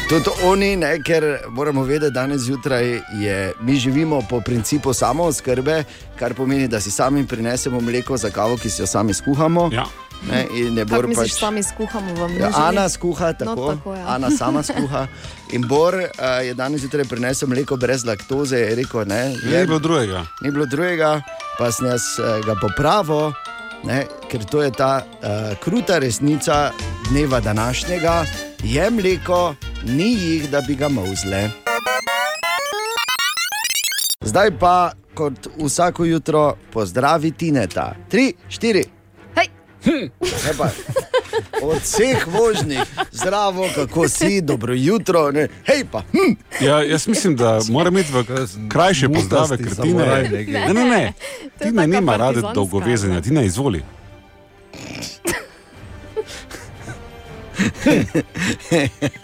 [SPEAKER 3] Tudi oni, ne, ker moramo vedeti, da danes zjutraj je, mi živimo po principu samo oskrbe, kar pomeni, da si sami prinesemo mleko za kavo, ki si jo sami skuhamo.
[SPEAKER 4] Ja.
[SPEAKER 3] Ne, in ne
[SPEAKER 5] Kako
[SPEAKER 3] bor
[SPEAKER 5] misliš,
[SPEAKER 3] pač.
[SPEAKER 5] sami skuhamo vam?
[SPEAKER 3] Ja, Ana skuha tako,
[SPEAKER 5] tako, ja.
[SPEAKER 3] Ana sama skuha. In Bor eh, uh, je danes zjutraj prinesel mleko brez laktoze, je rekel, ne,
[SPEAKER 4] Je
[SPEAKER 3] je,
[SPEAKER 4] bilo drugega.
[SPEAKER 3] ni bilo drugega. pa sem jaz eh, ga popravil, ne, ker to je ta uh, kruta resnica dneva današnjega. Je mleko, ni jih, da bi ga mozle. Zdaj pa, kot vsako jutro, pozdravi Tineta. Tri, štiri. Ne pa, Od vseh vožnjih, zdravo, kako si, dobro jutro, ne, hej pa. Hm.
[SPEAKER 4] Ja, jaz mislim, da mora imeti v krajše pozdave, ker ti
[SPEAKER 1] samuraj
[SPEAKER 4] ne.
[SPEAKER 1] nekaj.
[SPEAKER 4] Ne, ne, ne.
[SPEAKER 5] je
[SPEAKER 4] Ti ne
[SPEAKER 5] taka
[SPEAKER 4] nima rade
[SPEAKER 5] partizanska.
[SPEAKER 4] dolgovezenja, ti ne izvoli.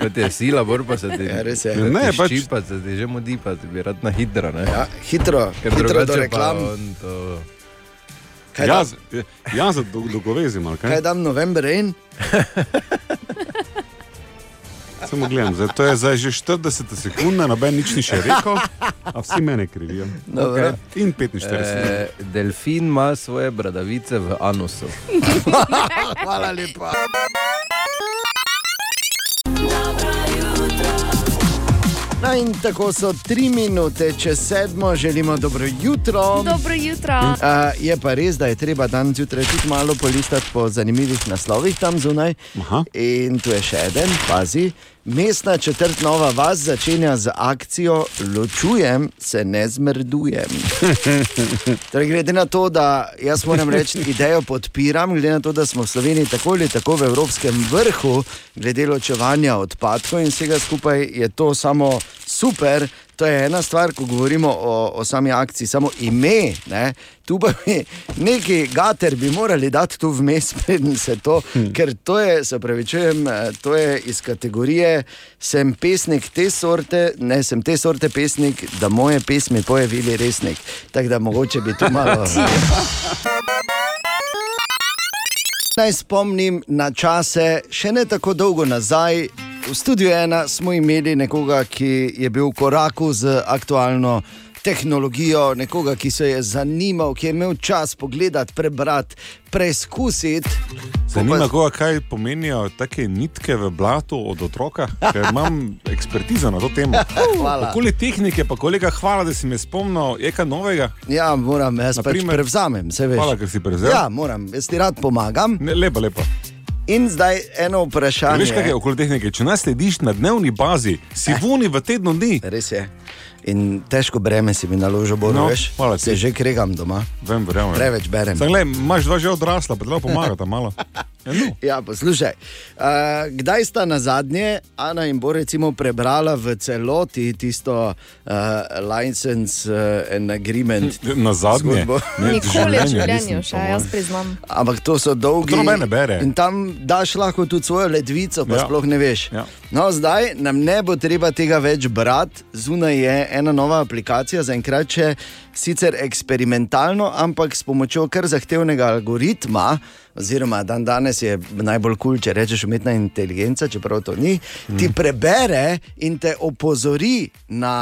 [SPEAKER 1] Kot je sila, borba se ti
[SPEAKER 3] Ja, res je.
[SPEAKER 4] Ne,
[SPEAKER 1] Ne,
[SPEAKER 4] pač-
[SPEAKER 1] pač čipa, se ti že mudi, pa ti bi rad na hidro. Ne?
[SPEAKER 3] Ja, hitro,
[SPEAKER 1] Ker
[SPEAKER 3] hitro do
[SPEAKER 1] drugače pa
[SPEAKER 3] reklam.
[SPEAKER 1] on to...
[SPEAKER 3] Kaj, da,
[SPEAKER 4] Jaz, jaz ja, za dol- dolgovezim, ali
[SPEAKER 3] kaj
[SPEAKER 4] kaj?
[SPEAKER 3] dam november in?
[SPEAKER 4] Samo gledam, zdaj, to je zdaj že 40 sekund, noben nič ni še rekel, a vsi mene krivijo.
[SPEAKER 3] Dobro.
[SPEAKER 4] In 45.
[SPEAKER 12] Eh,
[SPEAKER 1] E, delfin ima svoje bradavice v anusu.
[SPEAKER 3] Hvala lepa. No, in tako so tri minute, če sedmo, želimo dobro jutro.
[SPEAKER 5] Dobro jutro.
[SPEAKER 3] Uh, je pa res, da je treba danes zjutraj tudi malo polistati po zanimivih naslovih tam zunaj.
[SPEAKER 4] Aha.
[SPEAKER 3] In tu je še en, pazi. Mestna četrt Nova Vas začenja z akcijo Ločujem se, ne zmerdujem. Torej, glede na to, da jaz moram reči, idejo podpiram, glede na to, da smo v Sloveniji tako ali tako v evropskem vrhu, glede ločevanja odpadkov in vsega skupaj, je to samo super. To je ena stvar, ko govorimo o, o sami akciji, samo ime. Ne? Tu pa bi neki gater bi morali dati tu vmes, preden se to, hmm. ker to je, se pravi, čujem, to je iz kategorije sem pesnik te sorte, ne sem te sorte pesnik, da moje pesmi poje Vili Resnik. Tako da mogoče bi tu malo. Naj spomnim na čase, še ne tako dolgo nazaj. V studiu ena smo imeli nekoga, ki je bil v koraku z aktualno tehnologijo, nekoga, ki se je zanimal, ki je imel čas pogledati, prebrati, preizkusiti.
[SPEAKER 4] Zanima koga, kaj pomenijo take nitke v blatu od otroka, ker imam ekspertizo na to temo.
[SPEAKER 3] Hvala.
[SPEAKER 4] Okoli tehnike, pa kolega, hvala, da si me spomnil, je kaj novega.
[SPEAKER 3] Ja, moram, jaz pač
[SPEAKER 4] Naprimer?
[SPEAKER 3] prevzamem, se veš.
[SPEAKER 4] Hvala, ker si prevzel.
[SPEAKER 3] Ja, moram, jaz ti rad pomagam.
[SPEAKER 4] Ne, lepo, lepo.
[SPEAKER 3] In zdaj eno vprašanje.
[SPEAKER 4] Veš, kaj je okoli tehnike? Če nas slediš na dnevni bazi, si
[SPEAKER 3] Eh.
[SPEAKER 4] vuni v tednu dni.
[SPEAKER 3] Res je. In težko breme si mi naložil, bolj
[SPEAKER 4] No,
[SPEAKER 3] no, veš.
[SPEAKER 4] hvala ti.
[SPEAKER 3] Se že kregam doma,
[SPEAKER 4] Vem, verjamem.
[SPEAKER 3] preveč berem.
[SPEAKER 4] Sam, gled, imaš dva že odrasla, pa ti lahko pomagata malo. Ja, no.
[SPEAKER 3] Ja, poslušaj. Uh, kdaj sta na zadnje, Ana in bo recimo prebrala v celoti tisto uh, license uh, and agreement?
[SPEAKER 4] Ja, Na zadnje.
[SPEAKER 3] Zgodbo.
[SPEAKER 4] Ne,
[SPEAKER 5] Nikoli v
[SPEAKER 4] življenju
[SPEAKER 5] življenju
[SPEAKER 4] nisem,
[SPEAKER 5] še,
[SPEAKER 4] po moje.
[SPEAKER 5] jaz priznam.
[SPEAKER 3] Ampak to so dolgi.
[SPEAKER 4] To nobene bere.
[SPEAKER 3] In tam daš lahko tudi svojo ledvico, pa
[SPEAKER 4] Ja.
[SPEAKER 3] ja. sploh ne veš.
[SPEAKER 4] Ja.
[SPEAKER 3] No, zdaj nam ne bo treba tega več brati. Zunaj je ena nova aplikacija, zaenkrat še sicer eksperimentalno, ampak s pomočjo kar zahtevnega algoritma. Oziroma, dan danes je najbolj kul, cool, če rečeš umetna inteligenca, čeprav to ni, mm. ti prebere in te opozori na,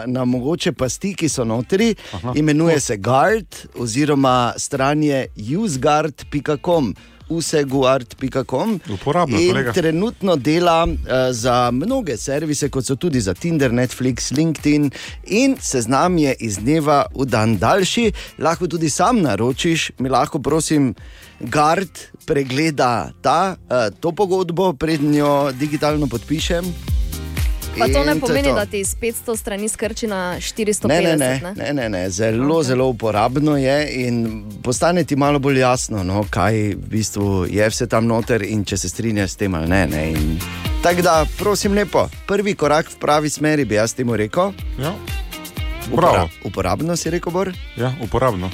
[SPEAKER 3] eh, na mogoče pasti, ki so notri. Aha. Imenuje se Guard, oziroma stran je useguard.com. Useguard.com
[SPEAKER 4] Uporabno,
[SPEAKER 3] in
[SPEAKER 4] kolega.
[SPEAKER 3] trenutno dela uh, za mnoge servise, kot so tudi za Tinder, Netflix, LinkedIn, in seznam je iz dneva v dan daljši. Lahko tudi sam naročiš, mi lahko, prosim, Gard pregleda ta, uh, to pogodbo, prednjo jo digitalno podpišem.
[SPEAKER 5] Pa to ne
[SPEAKER 3] In je
[SPEAKER 5] pomeni,
[SPEAKER 3] to.
[SPEAKER 5] da ti iz 500 strani skrči na 450.
[SPEAKER 3] Ne, ne, ne, ne, ne, ne. Zelo, okay. zelo uporabno je in postane ti malo bolj jasno, no, kaj v bistvu je vse tam noter in če se strinjaš s tem ali ne. ne. In Tako da, prosim, lepo, prvi korak v pravi smeri bi jaz temu rekel.
[SPEAKER 4] Ja. Bravo.
[SPEAKER 3] uporabno si rekel, Bor.
[SPEAKER 4] Ja, uporabno.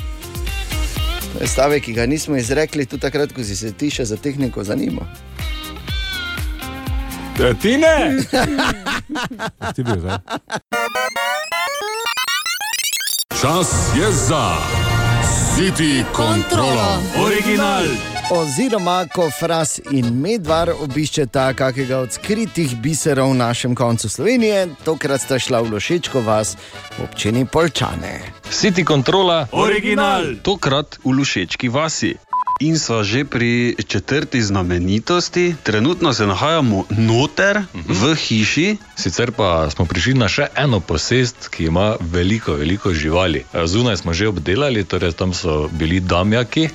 [SPEAKER 3] To je Stavek, ki ga nismo izrekli, tudi takrat, ko si se ti še za tehniko zanimal.
[SPEAKER 4] E, Ti ne! Ti bil zdaj.
[SPEAKER 9] Čas je za City Control. Original.
[SPEAKER 3] Oziroma, ko Fras in Medvar obiščeta kakega od skritih biserov v našem koncu Slovenije, tokrat sta šla v Lošečko vas v občini Polčane.
[SPEAKER 13] City Controla,
[SPEAKER 9] Original.
[SPEAKER 13] tokrat v Lušečki vasi. In sva že pri četrti znamenitosti, trenutno se nahajamo noter v hiši.
[SPEAKER 14] Sicer pa smo prišli na še eno posest, ki ima veliko, veliko živali. Eh, Zunaj smo že obdelali, torej tam so bili damjaki,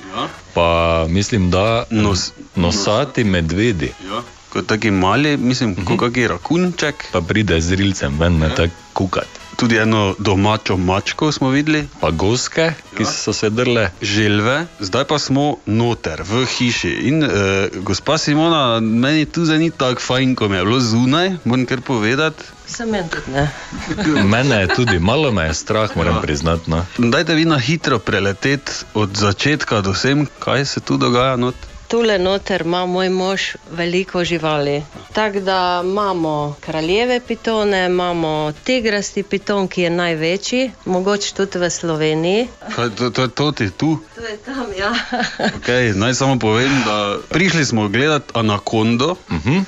[SPEAKER 14] pa mislim, da nos, nosati medvedi.
[SPEAKER 13] Ja. Kot taki mali, mislim, kot kakšen rakunček.
[SPEAKER 14] Pa pride z rilcem ven, ne tako kukati.
[SPEAKER 13] Tudi eno domačo mačko smo videli,
[SPEAKER 14] pa goske, ki so se drle.
[SPEAKER 13] Želve, zdaj pa smo noter v hiši. In uh, gospa Simona, meni tu zdaj ni tako fajn, kot mi je bilo zunaj, moram kar povedati.
[SPEAKER 15] Se meni tudi ne.
[SPEAKER 14] Mene je tudi, malo me je strah, moram priznati. No.
[SPEAKER 13] Ja. Dajte vi na hitro preleteti od začetka do sem, kaj se tu dogaja. Not.
[SPEAKER 15] Tule noter ima moj mož veliko živali. Tako da imamo kraljeve pitone, imamo tigrasti piton, ki je največji, mogoče tudi v Sloveniji.
[SPEAKER 13] Kaj, to, to, to ti tu.
[SPEAKER 15] To je tam, ja.
[SPEAKER 13] Okay, naj samo povem, da prišli smo gledati anakondo.
[SPEAKER 14] Uh -huh.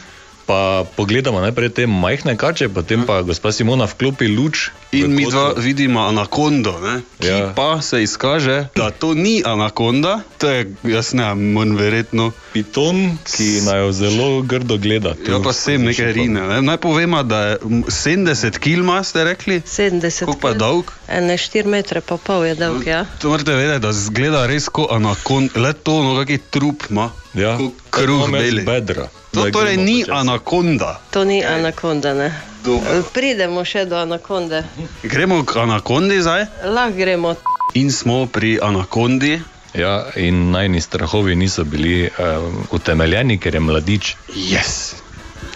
[SPEAKER 14] Pa pogledamo najprej te majhne kače, potem pa gospa Simona vklopi luč.
[SPEAKER 13] In mi dva vidimo anakondo, ne? ki ja. pa se izkaže, da to ni anakonda, to je jaz ne no. morem verjetno.
[SPEAKER 14] Piton, ki naj jo zelo grdo gleda. tu.
[SPEAKER 13] Ja, pa sem nekaj rine. Ne? Naj povem, da je 70 km, ste rekli.
[SPEAKER 15] 70.
[SPEAKER 13] Kako pa je dolg?
[SPEAKER 15] Ene 4 metre pa pol je dolg, ja.
[SPEAKER 13] To morate vedeti, da zgleda res kot anakonda, le to, no, kakšen trup ima.
[SPEAKER 14] Ja,
[SPEAKER 13] kruh
[SPEAKER 14] Tako
[SPEAKER 13] beli.
[SPEAKER 14] med bedra.
[SPEAKER 13] To
[SPEAKER 14] Da
[SPEAKER 13] torej
[SPEAKER 14] gremo
[SPEAKER 13] ni
[SPEAKER 14] počasi.
[SPEAKER 13] anakonda.
[SPEAKER 15] To ni anakonda, ne.
[SPEAKER 13] Dobro.
[SPEAKER 15] Pridemo še do anakonde.
[SPEAKER 13] Gremo k anakondi zdaj.
[SPEAKER 15] Lahko gremo.
[SPEAKER 13] In smo pri anakondi.
[SPEAKER 14] Ja, in najni strahovi niso bili um, utemeljeni, ker je mladič.
[SPEAKER 13] Yes.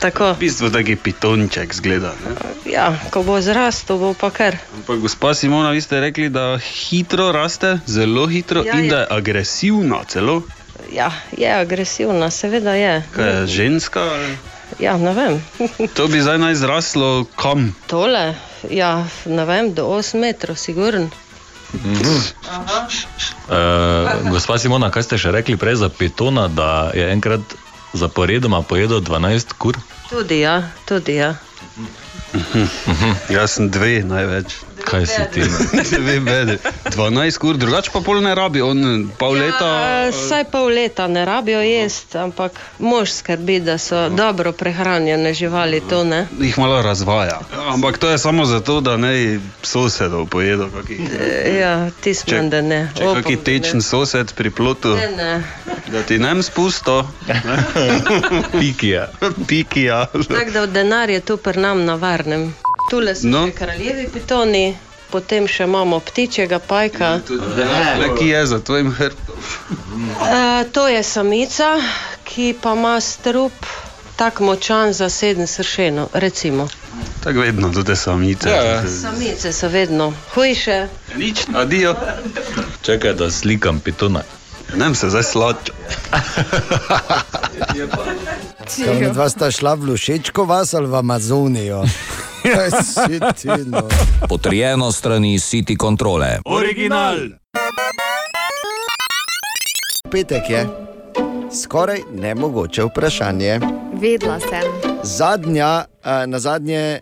[SPEAKER 15] Tako.
[SPEAKER 13] V bistvu taki pitonček zgleda. Ne?
[SPEAKER 15] Ja, ko bo zrastel, bo pa kar.
[SPEAKER 13] Ampak gospa Simona, vi ste rekli, da hitro raste, zelo hitro
[SPEAKER 15] Ja,
[SPEAKER 13] ja, in
[SPEAKER 15] ja.
[SPEAKER 13] da je agresivna celo.
[SPEAKER 15] Ja, je agresivna, seveda je.
[SPEAKER 13] Kaj je ženska? ali?
[SPEAKER 15] Ja, ne vem.
[SPEAKER 13] To bi zdaj naj zraslo kam?
[SPEAKER 15] Tole, ja, ne vem, do 8 metrov, sigurn.
[SPEAKER 14] Mhm. Uh, gospa Simona, kaj ste še rekli prej za Pitona, da je enkrat zaporedoma pojedel 12 kur?
[SPEAKER 15] Tudi ja, tudi ja.
[SPEAKER 13] Mhm. Jaz sem dve največ.
[SPEAKER 14] Kaj si ti?
[SPEAKER 13] Dve bedi. 12 ur, drugače pa pol ne rabi, on pol leta.
[SPEAKER 15] Ja, A,
[SPEAKER 13] eh,
[SPEAKER 15] Saj pol leta ne rabijo jesti, ampak mož skrbi, da so dobro prehranjene živali, to ne.
[SPEAKER 13] Jih malo razvaja. Ja, Ampak to je samo zato, da ne sosedov pojedo. Kaki,
[SPEAKER 15] E, Ja, ti
[SPEAKER 13] če
[SPEAKER 15] smo, da ne.
[SPEAKER 13] če
[SPEAKER 15] Upam,
[SPEAKER 13] kaki
[SPEAKER 15] da ne.
[SPEAKER 13] tečen sosed pri plotu,
[SPEAKER 15] Ne, ne.
[SPEAKER 13] da ti nem spusto.
[SPEAKER 14] Pikija.
[SPEAKER 13] Pikija.
[SPEAKER 15] Tako da denar je tu pri nam na varnem. Tule so
[SPEAKER 13] No.
[SPEAKER 15] no. kraljevi pitoni, potem še imamo ptičjega pajka.
[SPEAKER 13] Le, ki No, je za tvojim hrbtom?
[SPEAKER 15] E, to je samica, ki pa ima strup tako močan za sedem sršenov, recimo.
[SPEAKER 13] Tako vedno, tudi samice.
[SPEAKER 14] Ja,
[SPEAKER 15] Samice so vedno hujše.
[SPEAKER 13] Nič, adijo.
[SPEAKER 14] Čakaj, da slikam Pitona.
[SPEAKER 13] Nem se zdaj slačo.
[SPEAKER 3] Tam dva sta šla v Lušečko vas ali v Amazonijo. Kaj si ti, no?
[SPEAKER 9] Potrjeno strani City kontrole.
[SPEAKER 3] Original. Petek je. Skoraj nemogoče vprašanje.
[SPEAKER 5] Vedela sem.
[SPEAKER 3] Zadnja, eh, na zadnje.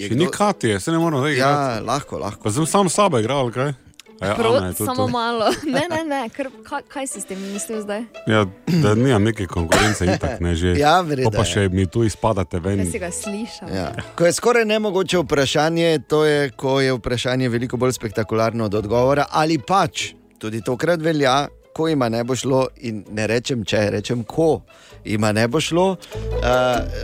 [SPEAKER 4] Še ni Katije, se ne moramo zdaj
[SPEAKER 3] Ja, lahko, lahko.
[SPEAKER 4] Pa sem sam s sabo igral, ali kaj? A Ja,
[SPEAKER 5] Prot,
[SPEAKER 4] Ana je tudi
[SPEAKER 5] samo
[SPEAKER 4] tu.
[SPEAKER 5] malo. Ne, ne, ne. Kar, kaj, kaj si s tem mislil zdaj?
[SPEAKER 4] Ja, da nimam neke konkurence, itak ne že.
[SPEAKER 3] Ja, verjetno
[SPEAKER 4] Pa, pa še mi tu izpadate ven.
[SPEAKER 5] Kaj si ga slišal?
[SPEAKER 3] Ja. Ko je skoraj nemogoče vprašanje, to je, ko je vprašanje veliko bolj spektakularno od odgovora, ali pač tudi tokrat velja, ko ima ne bo šlo. In ne rečem, če rečem, ko ima ne bo šlo, uh,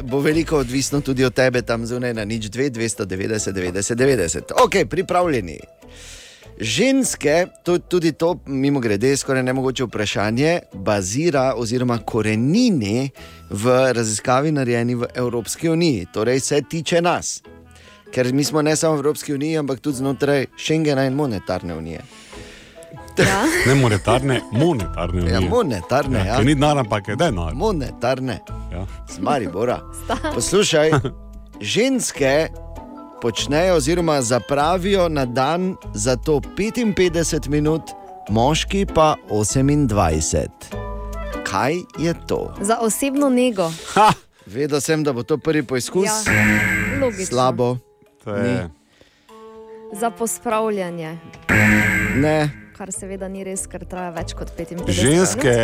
[SPEAKER 3] bo veliko odvisno tudi od tebe tam zunaj na nič 2, 290, 90, 90. Ok, pripravljeni. Ženske, to, tudi to, mimo grede, skoraj nemogoče vprašanje, bazira oziroma korenini v raziskavi, narejeni v Evropski uniji, torej se tiče nas. Ker mi smo ne samo v Evropski uniji, ampak tudi znotraj Schengena in monetarne unije.
[SPEAKER 4] Ne monetarne, monetarne.
[SPEAKER 3] Ja,
[SPEAKER 4] unije.
[SPEAKER 3] monetarne, ja.
[SPEAKER 4] Ker ni denar, ampak je denar.
[SPEAKER 3] Monetarne,
[SPEAKER 4] Ja.
[SPEAKER 3] z Maribora. Poslušaj, ženske počnejo oziroma zapravijo na dan za to 55 minut, moški pa 28. Kaj je to?
[SPEAKER 5] Za osebno nego.
[SPEAKER 3] Ha! Vedel sem, da bo to prvi poizkus.
[SPEAKER 5] Ja, logično.
[SPEAKER 3] Slabo.
[SPEAKER 4] To je
[SPEAKER 5] Za pospravljanje.
[SPEAKER 3] Ne,
[SPEAKER 5] kar seveda ni res, ker traja več kot 55 minut.
[SPEAKER 4] Ženske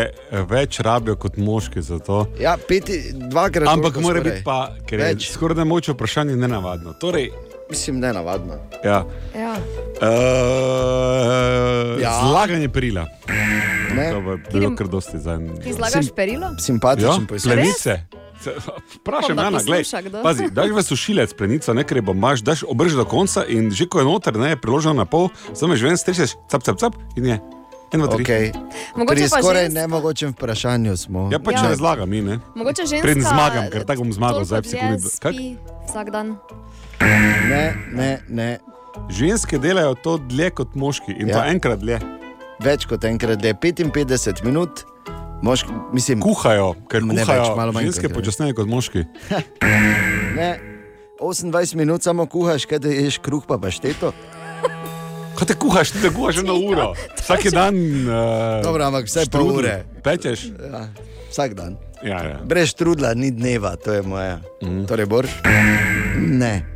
[SPEAKER 4] več rabijo kot moški za to.
[SPEAKER 3] Ja, peti, dvakrat.
[SPEAKER 4] Ampak
[SPEAKER 3] toliko
[SPEAKER 4] mora
[SPEAKER 3] skoraj.
[SPEAKER 4] biti pa, ker je
[SPEAKER 3] Več.
[SPEAKER 4] skoraj nemoče vprašanje nenavadno. Torej,
[SPEAKER 3] Mislim, nenavadno.
[SPEAKER 4] Ja.
[SPEAKER 5] Ja.
[SPEAKER 4] Uh,
[SPEAKER 3] Ja.
[SPEAKER 4] ja. Zlaganje perila.
[SPEAKER 3] Ne.
[SPEAKER 4] To bo bilo kar dosti za en.
[SPEAKER 5] Ti zlagaš perilo?
[SPEAKER 3] Simpatičen poizkus.
[SPEAKER 4] Ja, Plenice.
[SPEAKER 5] Bom,
[SPEAKER 4] Vprašaj,
[SPEAKER 5] da
[SPEAKER 4] Ana, glej.
[SPEAKER 5] posluša kdo.
[SPEAKER 4] Pazi, daš v sušilec plenico, ne ker bo imaš, daš obrž do konca in že ko je noter, ne je priloženo na pol, samo že ven strešeš, cap, cap, cap in je. En, dva, tri.
[SPEAKER 3] Okay.
[SPEAKER 5] Mogoče
[SPEAKER 3] Pri
[SPEAKER 5] pa
[SPEAKER 3] skoraj
[SPEAKER 5] žensk-
[SPEAKER 3] nemogočem vprašanju smo.
[SPEAKER 4] Ja, pač
[SPEAKER 5] Ja.
[SPEAKER 4] razlagam, mi ne.
[SPEAKER 5] Mogoče ženska.
[SPEAKER 4] Preden zmagam, ker tako bom zmagal,
[SPEAKER 5] toliko
[SPEAKER 4] zdaj
[SPEAKER 5] dlje
[SPEAKER 4] sekundi. Kaj?
[SPEAKER 5] Spi vsak dan.
[SPEAKER 3] Ne, ne, ne.
[SPEAKER 4] Ženske delajo to dlje kot moški in to
[SPEAKER 3] Ja.
[SPEAKER 4] enkrat dlje.
[SPEAKER 3] Več kot enkrat dlje, 55 minut. Moški, mislim,
[SPEAKER 4] kuhajo, ker
[SPEAKER 3] ne
[SPEAKER 4] kuhajo
[SPEAKER 3] več, malo manj.
[SPEAKER 4] ženske
[SPEAKER 3] kot-
[SPEAKER 4] počasneje kot moški.
[SPEAKER 3] Ne, 28 minut samo kuhaš, kaj da ješ kruh pa pašteto.
[SPEAKER 4] Kaj te kuhaš, ti te kuhaš eno uro. Vsak dan. Uh,
[SPEAKER 3] Dobro, ampak vsaj pol
[SPEAKER 4] štrudl
[SPEAKER 3] ure.
[SPEAKER 4] Pečeš?
[SPEAKER 3] Ja, vsak dan.
[SPEAKER 4] Ja, ja.
[SPEAKER 3] Brez trudla ni dneva, to je moja.
[SPEAKER 4] Mhm.
[SPEAKER 3] Mm. Torej, Borš? Ne.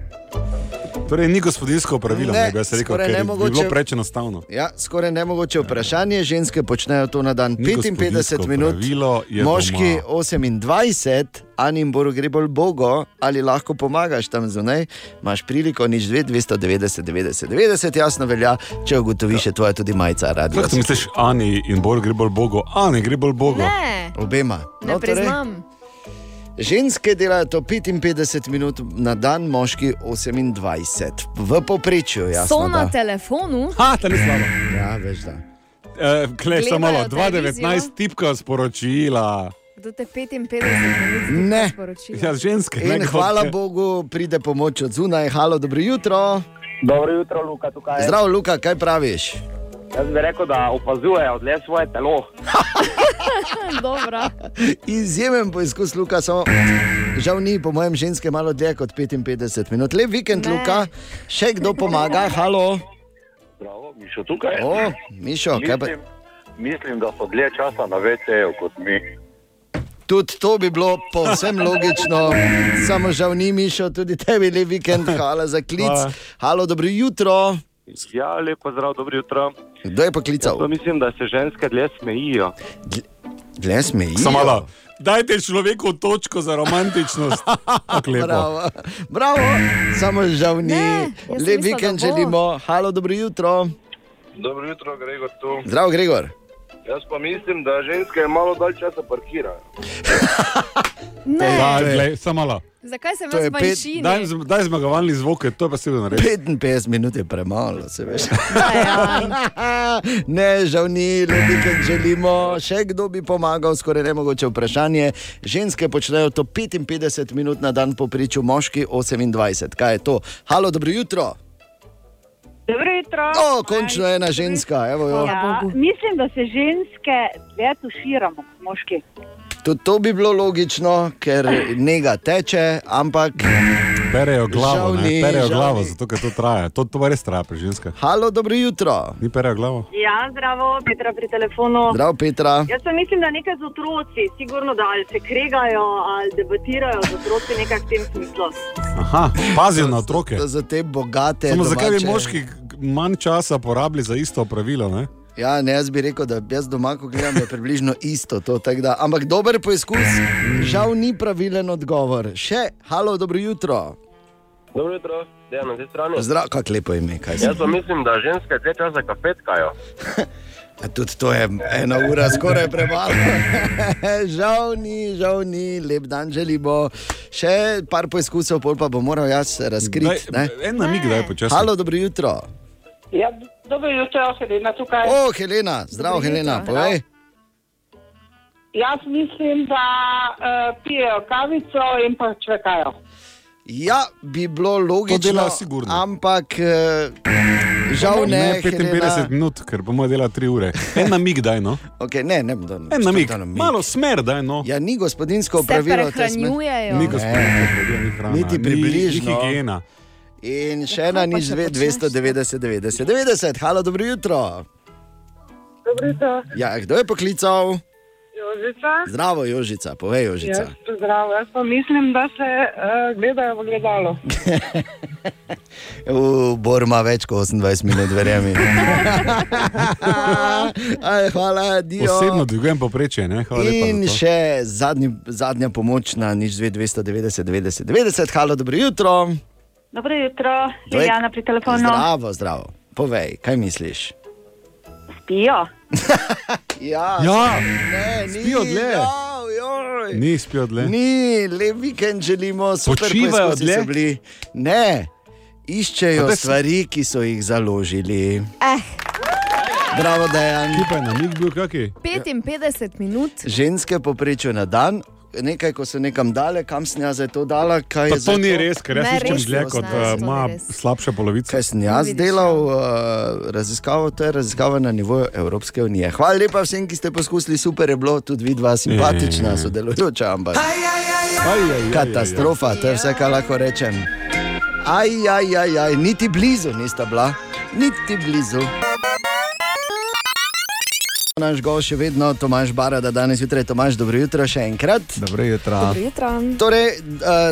[SPEAKER 4] Torej, ni gospodinsko pravilo,
[SPEAKER 3] Ne,
[SPEAKER 4] ne, bi se rekel,
[SPEAKER 3] skoraj
[SPEAKER 4] ker je
[SPEAKER 3] nemogoče.
[SPEAKER 4] bilo preveč enostavno.
[SPEAKER 3] Ja, skoraj nemogoče vprašanje. Ženske počnejo to na dan
[SPEAKER 4] Ni
[SPEAKER 3] 55
[SPEAKER 4] gospodinjsko
[SPEAKER 3] minut,
[SPEAKER 4] pravilo, je
[SPEAKER 3] moški
[SPEAKER 4] doma.
[SPEAKER 3] 28, Anim Boru gre bolj bogo, ali lahko pomagaš tam zunaj. Imaš priliko, nič 2, 290, 90, 90, jasno velja, če ugotoviš, je tvoja tudi majica radio.
[SPEAKER 4] Kaj ti misliš, Ani in Bor gre bolj Bogu? Ani gre bolj Bogu.
[SPEAKER 5] Ne,
[SPEAKER 3] Obema.
[SPEAKER 5] ne
[SPEAKER 3] No, torej,
[SPEAKER 5] priznam.
[SPEAKER 3] Ženske delajo to 55 minut na dan, moški 28, v povprečju.
[SPEAKER 5] So
[SPEAKER 3] Jasno,
[SPEAKER 5] na
[SPEAKER 3] da.
[SPEAKER 5] telefonu.
[SPEAKER 4] Ha, to ni slabo.
[SPEAKER 3] Ja, veš da.
[SPEAKER 4] E, Klej, samo malo,
[SPEAKER 5] Gledajo televizijo.
[SPEAKER 4] 2.19 tipka sporočila.
[SPEAKER 5] Kdo te 55 minut
[SPEAKER 3] Ne.
[SPEAKER 5] sporočil?
[SPEAKER 4] Ja, ženske. ne,
[SPEAKER 3] In
[SPEAKER 4] kot-
[SPEAKER 3] hvala Bogu, pride pomoč od zunaj. Halo, dobro jutro.
[SPEAKER 16] Dobro jutro, Luka, tukaj je.
[SPEAKER 3] Zdravo, Luka, kaj praviš?
[SPEAKER 16] Jaz bi rekel, da opazujejo le svoje telo.
[SPEAKER 5] Dobro.
[SPEAKER 3] Izjemen poizkus, Luka, samo žal ni, po mojem, ženske malo dlje kot 55 minut. Lep vikend,
[SPEAKER 16] Ne.
[SPEAKER 3] Luka, še kdo pomaga, halo.
[SPEAKER 17] Zdravo, Mišo, tukaj.
[SPEAKER 3] O, Mišo, kaj pa?
[SPEAKER 17] mislim, mislim, da so dlje časa na VC-ju kot mi.
[SPEAKER 3] Tudi to bi bilo povsem logično, samo žal ni, Mišo, tudi tebi lep vikend, hvala za klic.
[SPEAKER 17] Hvala.
[SPEAKER 3] Halo, dobro jutro.
[SPEAKER 17] Ja, lepo zdrav, dobro jutro.
[SPEAKER 3] Kdo je poklical?
[SPEAKER 17] Jaz pa mislim, da se ženske dlje smejijo.
[SPEAKER 3] Dlje smeji.
[SPEAKER 4] Samo malo. Dajte človeku točko za romantičnost. Tako lepo.
[SPEAKER 3] Bravo. Bravo, samo žal ni.
[SPEAKER 17] jaz sem
[SPEAKER 3] Lep
[SPEAKER 17] mislila,
[SPEAKER 3] vikend
[SPEAKER 17] da bo.
[SPEAKER 3] želimo, halo, dobro jutro.
[SPEAKER 17] Dobro jutro, Gregor, tu.
[SPEAKER 3] Zdravo, Gregor.
[SPEAKER 17] Jaz pa mislim, da ženske malo dalj časa parkirajo.
[SPEAKER 5] Ne.
[SPEAKER 4] Da, glej, samo malo.
[SPEAKER 5] Zakaj sem jaz manjšina?
[SPEAKER 4] daj, zm- daj zmagovalni zvok, to je pa seveda naredil.
[SPEAKER 3] 55 minut je premalo, se veš. ne, žal ni, ljudi, ki želimo. Še kdo bi pomagal, skoraj ne mogoče vprašanje. Ženske počnejo to 55 minut na dan, po priču moški 28. Kaj je to? Halo, dobro jutro.
[SPEAKER 18] Dobro jutro.
[SPEAKER 3] O, končno je ena ženska, evo jo.
[SPEAKER 18] Ja, mislim, da se ženske dlje tuširamo kot moški.
[SPEAKER 3] Tudi to bi bilo logično, ker nega teče, ampak.
[SPEAKER 4] Perejo glavo,
[SPEAKER 3] Žal
[SPEAKER 4] ne,
[SPEAKER 3] ni,
[SPEAKER 4] perejo
[SPEAKER 3] žal
[SPEAKER 4] glavo,
[SPEAKER 3] ni.
[SPEAKER 4] zato ker to traja. To, to pa res traja pri ženskah.
[SPEAKER 3] Halo, dobro jutro.
[SPEAKER 4] Ni perejo glavo.
[SPEAKER 18] Ja, zdravo, Petra pri telefonu.
[SPEAKER 3] Zdravo, Petra.
[SPEAKER 18] Jaz pa mislim, da nekaj z otroci, sigurno da ali se kregajo ali debatirajo z otroci, nekaj v tem smislu.
[SPEAKER 4] Aha, pazijo na otroke.
[SPEAKER 3] Za te bogate.
[SPEAKER 4] Samo zakaj bi
[SPEAKER 3] domače-
[SPEAKER 4] moški k- manj časa porabili za isto pravilo? Ne?
[SPEAKER 3] Ja, ne, jaz bi rekel, da jaz doma, ko gledam, da je približno isto. To, tako da, ampak dober poizkus, žal ni pravilen odgovor. Še, halo, dobro jutro.
[SPEAKER 17] Dobro jutro, dejan na tej strani.
[SPEAKER 3] Zdravo, kako lepo ime, kaj se
[SPEAKER 17] Jaz pa mislim, da ženske dlje časa kafetkajo.
[SPEAKER 3] A Tudi to je ena ura, skoraj premalo. žal ni, žal ni, lep dan želimo. Še par poizkusov, pol pa bo moral jaz razkriti.
[SPEAKER 4] Daj,
[SPEAKER 3] ne?
[SPEAKER 4] en namig daj počasi.
[SPEAKER 3] Halo, dobro jutro.
[SPEAKER 19] Ja, dobro jutro, Helena tukaj.
[SPEAKER 3] O, Helena, zdravo,
[SPEAKER 19] Dobro
[SPEAKER 3] Helena,
[SPEAKER 19] jutro.
[SPEAKER 3] povej.
[SPEAKER 19] Jaz mislim, da uh, pijejo kavico in pa čvekajo.
[SPEAKER 3] Ja, bi bilo logično.
[SPEAKER 4] delajo sigurno.
[SPEAKER 3] Ampak eh, žal ne.
[SPEAKER 4] ne 55
[SPEAKER 3] Helena.
[SPEAKER 4] minut, ker bomo delali 3 ure. En namig daj, no.
[SPEAKER 3] Okay, ne, ne bom dal.
[SPEAKER 4] En namig,
[SPEAKER 3] Štotano mi.
[SPEAKER 4] malo smer daj, no.
[SPEAKER 3] Ja, ni gospodinsko
[SPEAKER 5] Se
[SPEAKER 3] pravilo. te sme-
[SPEAKER 5] prehranjujejo.
[SPEAKER 4] Ni gospodinsko pravilo, ni hrana.
[SPEAKER 3] Niti
[SPEAKER 4] ni-
[SPEAKER 3] približno.
[SPEAKER 4] Ni higiena.
[SPEAKER 3] In še ena nič dve, 290, 90, 90. Halo, dobro jutro.
[SPEAKER 19] Dobro jutro.
[SPEAKER 3] Ja, kdo je poklical?
[SPEAKER 19] Jo, Jožica.
[SPEAKER 3] Zdravo, Jožica, povej, Jožica.
[SPEAKER 19] Jaz, zdravo, jaz pa mislim, da se uh, gledajo v gledalo.
[SPEAKER 3] U, Bor ima več kot 28 minut, verjemi. Aj, hvala, Dio.
[SPEAKER 4] Posebno dvigujem poprečje, ne? Hvala lepa.
[SPEAKER 3] In
[SPEAKER 4] za to.
[SPEAKER 3] še zadnji, zadnja pomoč na nič 290, 90, 90. Halo, dobro jutro.
[SPEAKER 20] Dobro jutro,
[SPEAKER 3] Dvojk-
[SPEAKER 20] Juliana pri telefonu.
[SPEAKER 10] no.
[SPEAKER 3] Zdravo, zdravo. Povej, kaj misliš?
[SPEAKER 20] Spijo.
[SPEAKER 3] ja,
[SPEAKER 4] Ja,
[SPEAKER 3] ne, ni
[SPEAKER 4] spijo dlje.
[SPEAKER 3] dal, joj.
[SPEAKER 4] Ni spijo dlje.
[SPEAKER 3] Ni, lep vikend želimo, super
[SPEAKER 4] Počivajo
[SPEAKER 3] poizkusi
[SPEAKER 4] dlje?
[SPEAKER 3] so bili. Ne,
[SPEAKER 4] Pa
[SPEAKER 3] iščejo
[SPEAKER 4] da si-
[SPEAKER 3] stvari, ki so jih založili. Bravo, Dejan.
[SPEAKER 4] Kaj pa je na mig bil kaki?
[SPEAKER 5] 55 minut.
[SPEAKER 3] Ženske poprečju na dan. Nekaj, ko so nekam dale, kam sem jaz zdaj to dala, kaj
[SPEAKER 4] Pa
[SPEAKER 3] je
[SPEAKER 4] to
[SPEAKER 3] zdaj
[SPEAKER 4] ni res, ker
[SPEAKER 3] Ne,
[SPEAKER 4] jaz iščem
[SPEAKER 3] res
[SPEAKER 4] dlje
[SPEAKER 3] ne,
[SPEAKER 4] kot
[SPEAKER 3] ne,
[SPEAKER 4] eh,
[SPEAKER 3] to ni
[SPEAKER 4] ima
[SPEAKER 3] res.
[SPEAKER 4] slabša polovica.
[SPEAKER 3] Kaj sem jaz delal, uh, raziskavo, to je raziskava na nivoju Evropske unije. Hvala lepa vsem, ki ste poskusili, super je bilo, tudi vidva simpatična, sodelujoča, ampak katastrofa, to je vse, kar lahko rečem. Aj, aj, aj, aj, niti blizu nista bila, niti blizu. Naš gost še vedno, Tomaš Barada, danes jutraj, Tomaš, dobro jutro še enkrat.
[SPEAKER 1] Dobro jutro.
[SPEAKER 3] Ja.
[SPEAKER 5] Dobro jutro.
[SPEAKER 3] Torej, eh,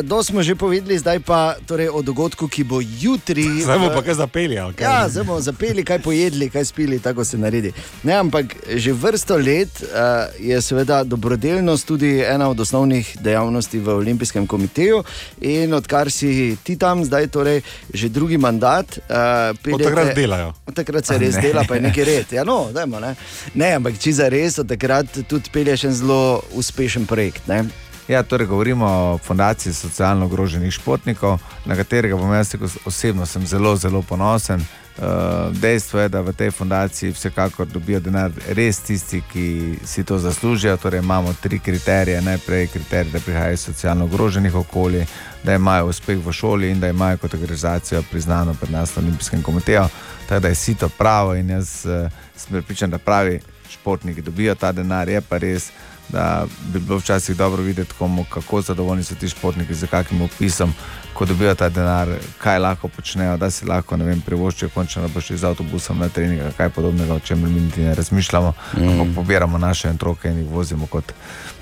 [SPEAKER 3] do smo že povedali, zdaj pa torej, o dogodku, ki bo jutri.
[SPEAKER 4] Zdaj bomo
[SPEAKER 3] v-
[SPEAKER 4] pa kaj zapeli. ali Kaj?
[SPEAKER 3] Ja, zdaj bomo zapeli, kaj pojedli, kaj spili, tako se naredi. Ne, ampak že vrsto let uh, je seveda dobrodelnost tudi ena od osnovnih dejavnosti v Olimpijskem komiteju. In odkar si ti tam, zdaj torej že drugi mandat, uh,
[SPEAKER 4] Od takrat delajo.
[SPEAKER 3] Od takrat
[SPEAKER 4] A
[SPEAKER 3] se res
[SPEAKER 4] ne.
[SPEAKER 3] ne. dela, pa je neki red. Ja, no, dajmo, ne. ne, ampak če za res, od takrat tudi pelješ en zelo uspešen projekt. Ne?
[SPEAKER 12] Ja, torej govorimo o fundaciji socialno ogroženih športnikov, na katerega bom jaz rekel, osebno sem zelo, zelo ponosen. Eh, Dejstvo je, da v tej fundaciji vsekakor dobijo denar res tisti, ki si to zaslužijo. Torej imamo tri kriterije. Najprej kriterij, da prihajajo iz socialno ogroženih okolij, da imajo uspeh v šoli in da imajo kot organizacijo priznano pred nas na Olimpijskem komiteju. Tako da je sito pravo in jaz eh, sem pripričan, da pravi športniki dobijo ta denar. Je pa res, da bi bilo včasih dobro videti, komu, kako zadovoljni so ti športniki, z kakim opisom, ko dobijo ta denar, kaj lahko počnejo, da si lahko ne vem, privoščijo, končno da boš z avtobusom na trening, ali kaj podobnega, o čemer mi niti ne razmišljamo. Mm. Pobiramo naše otroke in jih vozimo kot,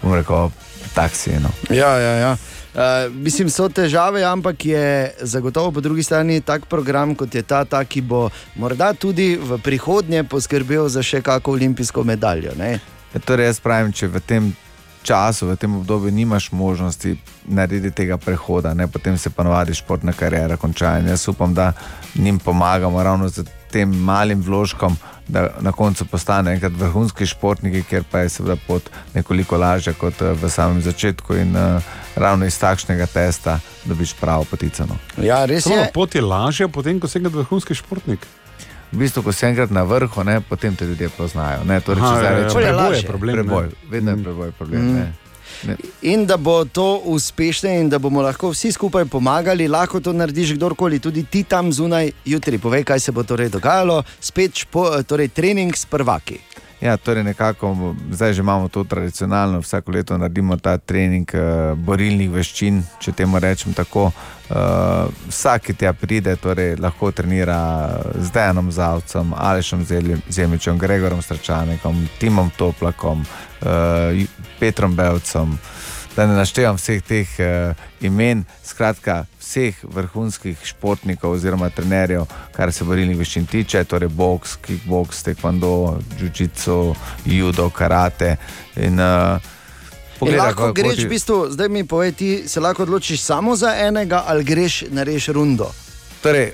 [SPEAKER 12] bom rekel, taksije. No.
[SPEAKER 3] Ja, ja, ja. Uh, mislim, so težave, ampak je zagotovo po drugi strani tak program kot je ta, ta ki bo morda tudi v prihodnje poskrbel za še kako olimpijsko medaljo. Ne?
[SPEAKER 12] Ja, torej, jaz pravim, če v tem času, v tem obdobju nimaš možnosti narediti tega prehoda, ne? potem se pa navadi športna karjera konča. In jaz upam, da njim pomagamo ravno z tem malim vložkom, da na koncu postane enkrat vrhunski športniki, ker pa je seveda pot nekoliko lažja kot eh, v samem začetku in eh, ravno iz takšnega testa dobiš pravo no. poticano.
[SPEAKER 3] Ja, res
[SPEAKER 4] Samo
[SPEAKER 12] je.
[SPEAKER 4] pot je lažja, potem ko si enkrat vrhunski športnik.
[SPEAKER 12] V bistvu, ko si enkrat na vrhu, ne, potem te ljudje poznajo. Ne, torej,
[SPEAKER 4] Aha,
[SPEAKER 12] če zdaj
[SPEAKER 4] ja, ja,
[SPEAKER 12] rečeš,
[SPEAKER 4] preboj je
[SPEAKER 12] "Preboj
[SPEAKER 4] problem, ne."
[SPEAKER 12] Preboj, vedno je preboj problem.
[SPEAKER 3] Mm.
[SPEAKER 12] Mm. Ne.
[SPEAKER 3] In da bo to uspešno, in da bomo lahko vsi skupaj pomagali, lahko to narediš kdorkoli, tudi ti tam zunaj jutri. Povej, kaj se bo torej dogajalo, spet špo, torej, trening s prvaki.
[SPEAKER 12] Ja, torej nekako zdaj že imamo to tradicionalno, vsako leto naredimo ta trening eh, borilnih veščin, če temu rečem tako. Eh, vsak, ki tja pride, torej lahko trenira eh, z Dejanom Zavcem, Alešem Zeljem- Zemičem, Gregorom Stračanikom, Timom Toplakom, eh, Ju- Petrom Belcem. Da ne naštevam vseh teh eh, imen, skratka, vseh vrhunskih športnikov oziroma trenerjev, kar se borilnih veščin tiče, torej boks, kickboks, tekvando, jiu-jitsu, judo, karate. In, uh,
[SPEAKER 3] Pogleda, lahko greš, v bistvu, zdaj mi povej, ti se lahko odločiš samo za enega, ali greš, narediš rundo.
[SPEAKER 12] Torej,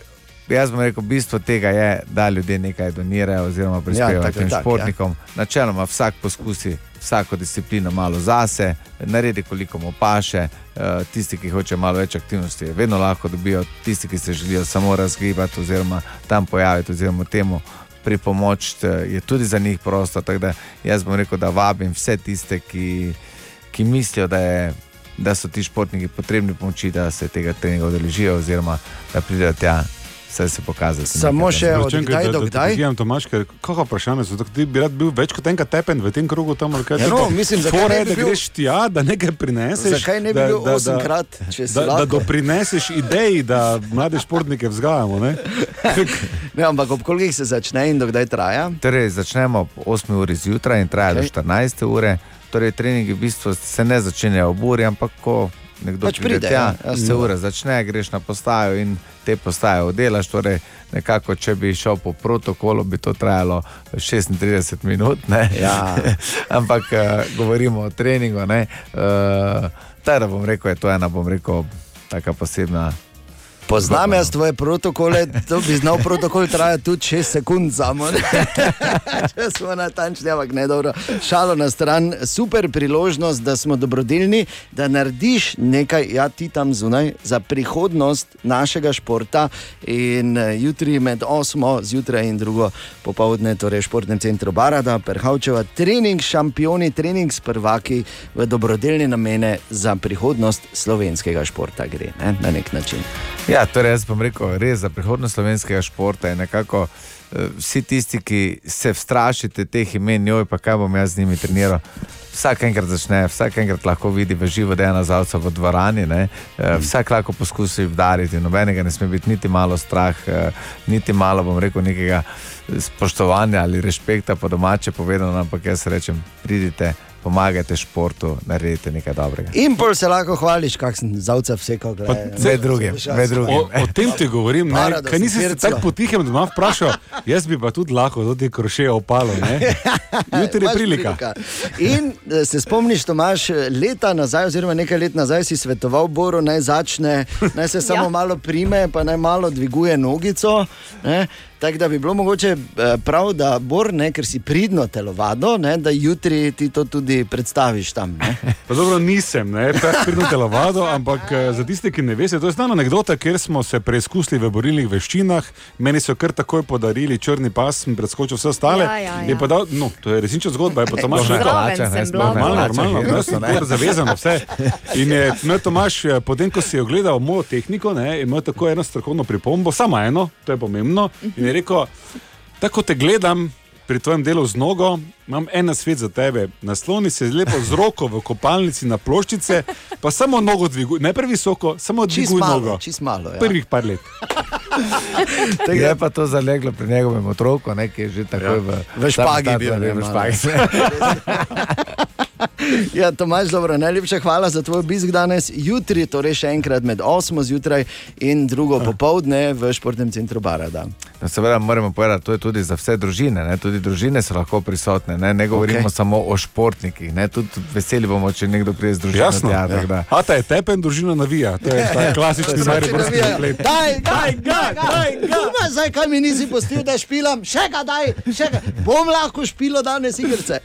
[SPEAKER 12] jaz bom rekel, bistvo tega je, da ljudje nekaj donirajo oziroma prispevajo
[SPEAKER 3] tako
[SPEAKER 12] ja,
[SPEAKER 3] je,
[SPEAKER 12] tem
[SPEAKER 3] tako,
[SPEAKER 12] tak,
[SPEAKER 3] ja.
[SPEAKER 12] športnikom. Ja. Načeloma vsak poskusi vsako disciplino malo zase, naredi koliko mu paše. Eh, Tisti, ki hoče malo več aktivnosti, vedno lahko dobijo, tisti, ki se želijo samo razgibati oziroma tam pojaviti oziroma temu. Pripomoč eh, je tudi za njih prosto. Tako da jaz bom rekel, da vabim vse tiste, ki, ki mislijo, da, je, da so ti športniki potrebni pomoči, da se tega treninga odeležijo, oziroma da pridejo tja s Vse se pokaže.
[SPEAKER 3] Samo še od kdaj do kdaj?
[SPEAKER 4] Ja, Tomaš, ker kakšno vprašanje so, tako ti bi rad bil več kot enkrat tepen v tem krogu tam ali kaj.
[SPEAKER 3] Ja, no, mislim, zakaj
[SPEAKER 4] Fora
[SPEAKER 3] ne
[SPEAKER 4] je,
[SPEAKER 3] bi
[SPEAKER 4] da
[SPEAKER 3] bil-
[SPEAKER 4] greš tja, da nekaj prineseš.
[SPEAKER 3] Zakaj ne bi
[SPEAKER 4] da-
[SPEAKER 3] bil
[SPEAKER 4] da- da-
[SPEAKER 3] osemkrat, če si
[SPEAKER 4] da, da
[SPEAKER 3] lahko?
[SPEAKER 4] doprineseš ideji, da mlade športnike vzgajamo. Ne?
[SPEAKER 3] Ne, ampak ob kolikih se začne in dokdaj traja?
[SPEAKER 12] Torej, začnemo ob 8 uri zjutraj in traja
[SPEAKER 3] Okej.
[SPEAKER 12] do 14 ure. Torej, treningi v bistvu se ne začnejo ob uri, ampak ko nekdo
[SPEAKER 3] Pač pride,
[SPEAKER 12] tja,
[SPEAKER 3] ja, jasno.
[SPEAKER 12] se ura začne, greš na postajo in te postaje oddelaš. Torej, nekako, če bi šel po protokolu, bi to trajalo 36 minut. ne.
[SPEAKER 3] Ja.
[SPEAKER 12] ampak eh, govorimo o treningu. ne. Eh, Teda bom rekel, je to ena, bom rekel, taka posebna.
[SPEAKER 3] Poznam jaz tvoje protokole, to bi znal protokol trajati tudi 6 sekund samo. ne. Če smo natančni, ampak ne dobro. Šalo na stran, super priložnost, da smo dobrodelni, da narediš nekaj, ja ti tam zunaj, za prihodnost našega športa. In eh, jutri med 8 zjutraj in 2 popovdne, torej v športnem centru Barada, Perhavčeva, trening s šampioni, trening s prvaki v dobrodelne namene za prihodnost slovenskega športa gre ne? na nek način.
[SPEAKER 12] Ja, torej jaz bom rekel, res za prihodnost slovenskega športa je nekako eh, vsi tisti, ki se strašite teh imen, joj, pa kaj bom jaz z njimi treniral. Vsak enkrat začne, vsak enkrat lahko vidi v živo, da je ena zavca v dvorani. Ne? Eh, Vsak lahko poskusi udariti, nobenega ne sme biti niti malo strah, eh, niti malo, bom rekel, nekega eh, spoštovanja ali respekta, po domače povedano, ampak jaz rečem, pridite, pomagajte športu, naredite nekaj dobrega.
[SPEAKER 3] In pol se lahko hvališ, kak sem zavca vsekal.
[SPEAKER 12] Med drugim, med drugim.
[SPEAKER 4] O, o tem ti govorim, ne,
[SPEAKER 3] Paradoks,
[SPEAKER 4] kaj nisi se
[SPEAKER 3] srca.
[SPEAKER 4] tako potihem doma vprašal, jaz bi pa tudi lahko tudi krošeje opalo. ne. Jutri je prilika.
[SPEAKER 3] In eh, se spomniš, Tomaš, leta nazaj, oziroma nekaj let nazaj si svetoval Boru, naj začne, naj se samo ja. malo prime, pa naj malo dviguje nogico. Ne? Tako da bi bilo mogoče eh, prav, da Bor, ne, ker si pridno telovado, ne, da jutri ti to tudi predstaviš tam. Ne?
[SPEAKER 4] Pa dobro, nisem, ne, pridno telovado, ampak eh, za tiste, ki ne veste, to je znana anekdota, ker smo se preizkusili v borilnih veščinah, meni so kar takoj podarili črni pas, sem preskočil vse ostale.
[SPEAKER 5] Ja, ja, ja.
[SPEAKER 4] Je pa dal, no, to je resnična zgodba, je pa Tomaš
[SPEAKER 5] Zraven
[SPEAKER 4] rekel.
[SPEAKER 5] sem bila.
[SPEAKER 4] Normalno, normalno, jaz sem kar zavezan, vse. In je imel Tomaš, eh, potem ko si je ogledal mojo tehniko, ne, je imel tako eno strokovno pripombo, samo eno, to je pomembno. In je rekel, tako te gledam pri tvojem delu z nogo, imam en svet za tebe. Nasloni se lepo z roko v kopalnici na ploščice, pa samo nogo dviguj, ne previsoko, samo
[SPEAKER 3] Čist
[SPEAKER 4] dviguj
[SPEAKER 3] malo,
[SPEAKER 4] nogo.
[SPEAKER 3] čist malo, ja.
[SPEAKER 4] Prvih par let.
[SPEAKER 12] Je pa to zaleglo pri njegovem otroku, ne, ki je že takoj v,
[SPEAKER 3] Ja. V
[SPEAKER 12] tam-
[SPEAKER 3] špagi
[SPEAKER 12] tam-
[SPEAKER 3] bil,
[SPEAKER 12] tam-
[SPEAKER 3] ne,
[SPEAKER 12] v
[SPEAKER 3] malo.
[SPEAKER 12] špagi.
[SPEAKER 3] Ja, Tomaž, dobro, najlepša hvala za tvoj obisk danes. Jutri, torej še enkrat med 8 zjutraj in 2 popovdne v športnem centru Barada.
[SPEAKER 12] No, seveda moramo povedati, to je tudi za vse družine. Ne? Tudi družine so lahko prisotne. Ne, ne govorimo okay.
[SPEAKER 3] Okej.
[SPEAKER 12] samo o športnikih. Ne? Tudi veseli bomo, če nekdo pride z družino.
[SPEAKER 4] Jasno.
[SPEAKER 12] tja,
[SPEAKER 3] ja.
[SPEAKER 12] tako da.
[SPEAKER 4] Ata Ja, je tepen, družina navija. To je ta klasični mariborski
[SPEAKER 3] ja.
[SPEAKER 4] komplet.
[SPEAKER 3] Daj, daj, daj, daj, daj. Zdaj, kaj mi nisi postil, da špilam, še ga daj, še ga. Bom lahko špilo danes igrice.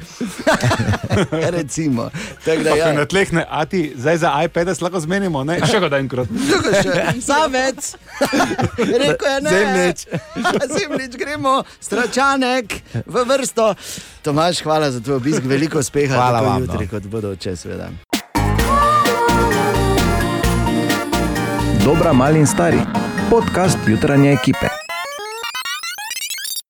[SPEAKER 3] Ja, Recimo. Tako da,
[SPEAKER 4] Pa
[SPEAKER 3] ja.
[SPEAKER 4] ko na tleh ne, a ti zdaj za iPad se lahko zmenimo, ne? Še ga da enkrat.
[SPEAKER 3] Drugo še, Zavec, rekel je ne.
[SPEAKER 4] Zemljič.
[SPEAKER 3] Zemljič, gremo, stračanek v vrsto. Tomaš, hvala za tvoj obisk, veliko uspeha.
[SPEAKER 12] Hvala
[SPEAKER 3] tako
[SPEAKER 12] vam, no.
[SPEAKER 3] Jutri, kot bodo če seveda.
[SPEAKER 9] Dobra, mali in stari. Podcast jutranje ekipe.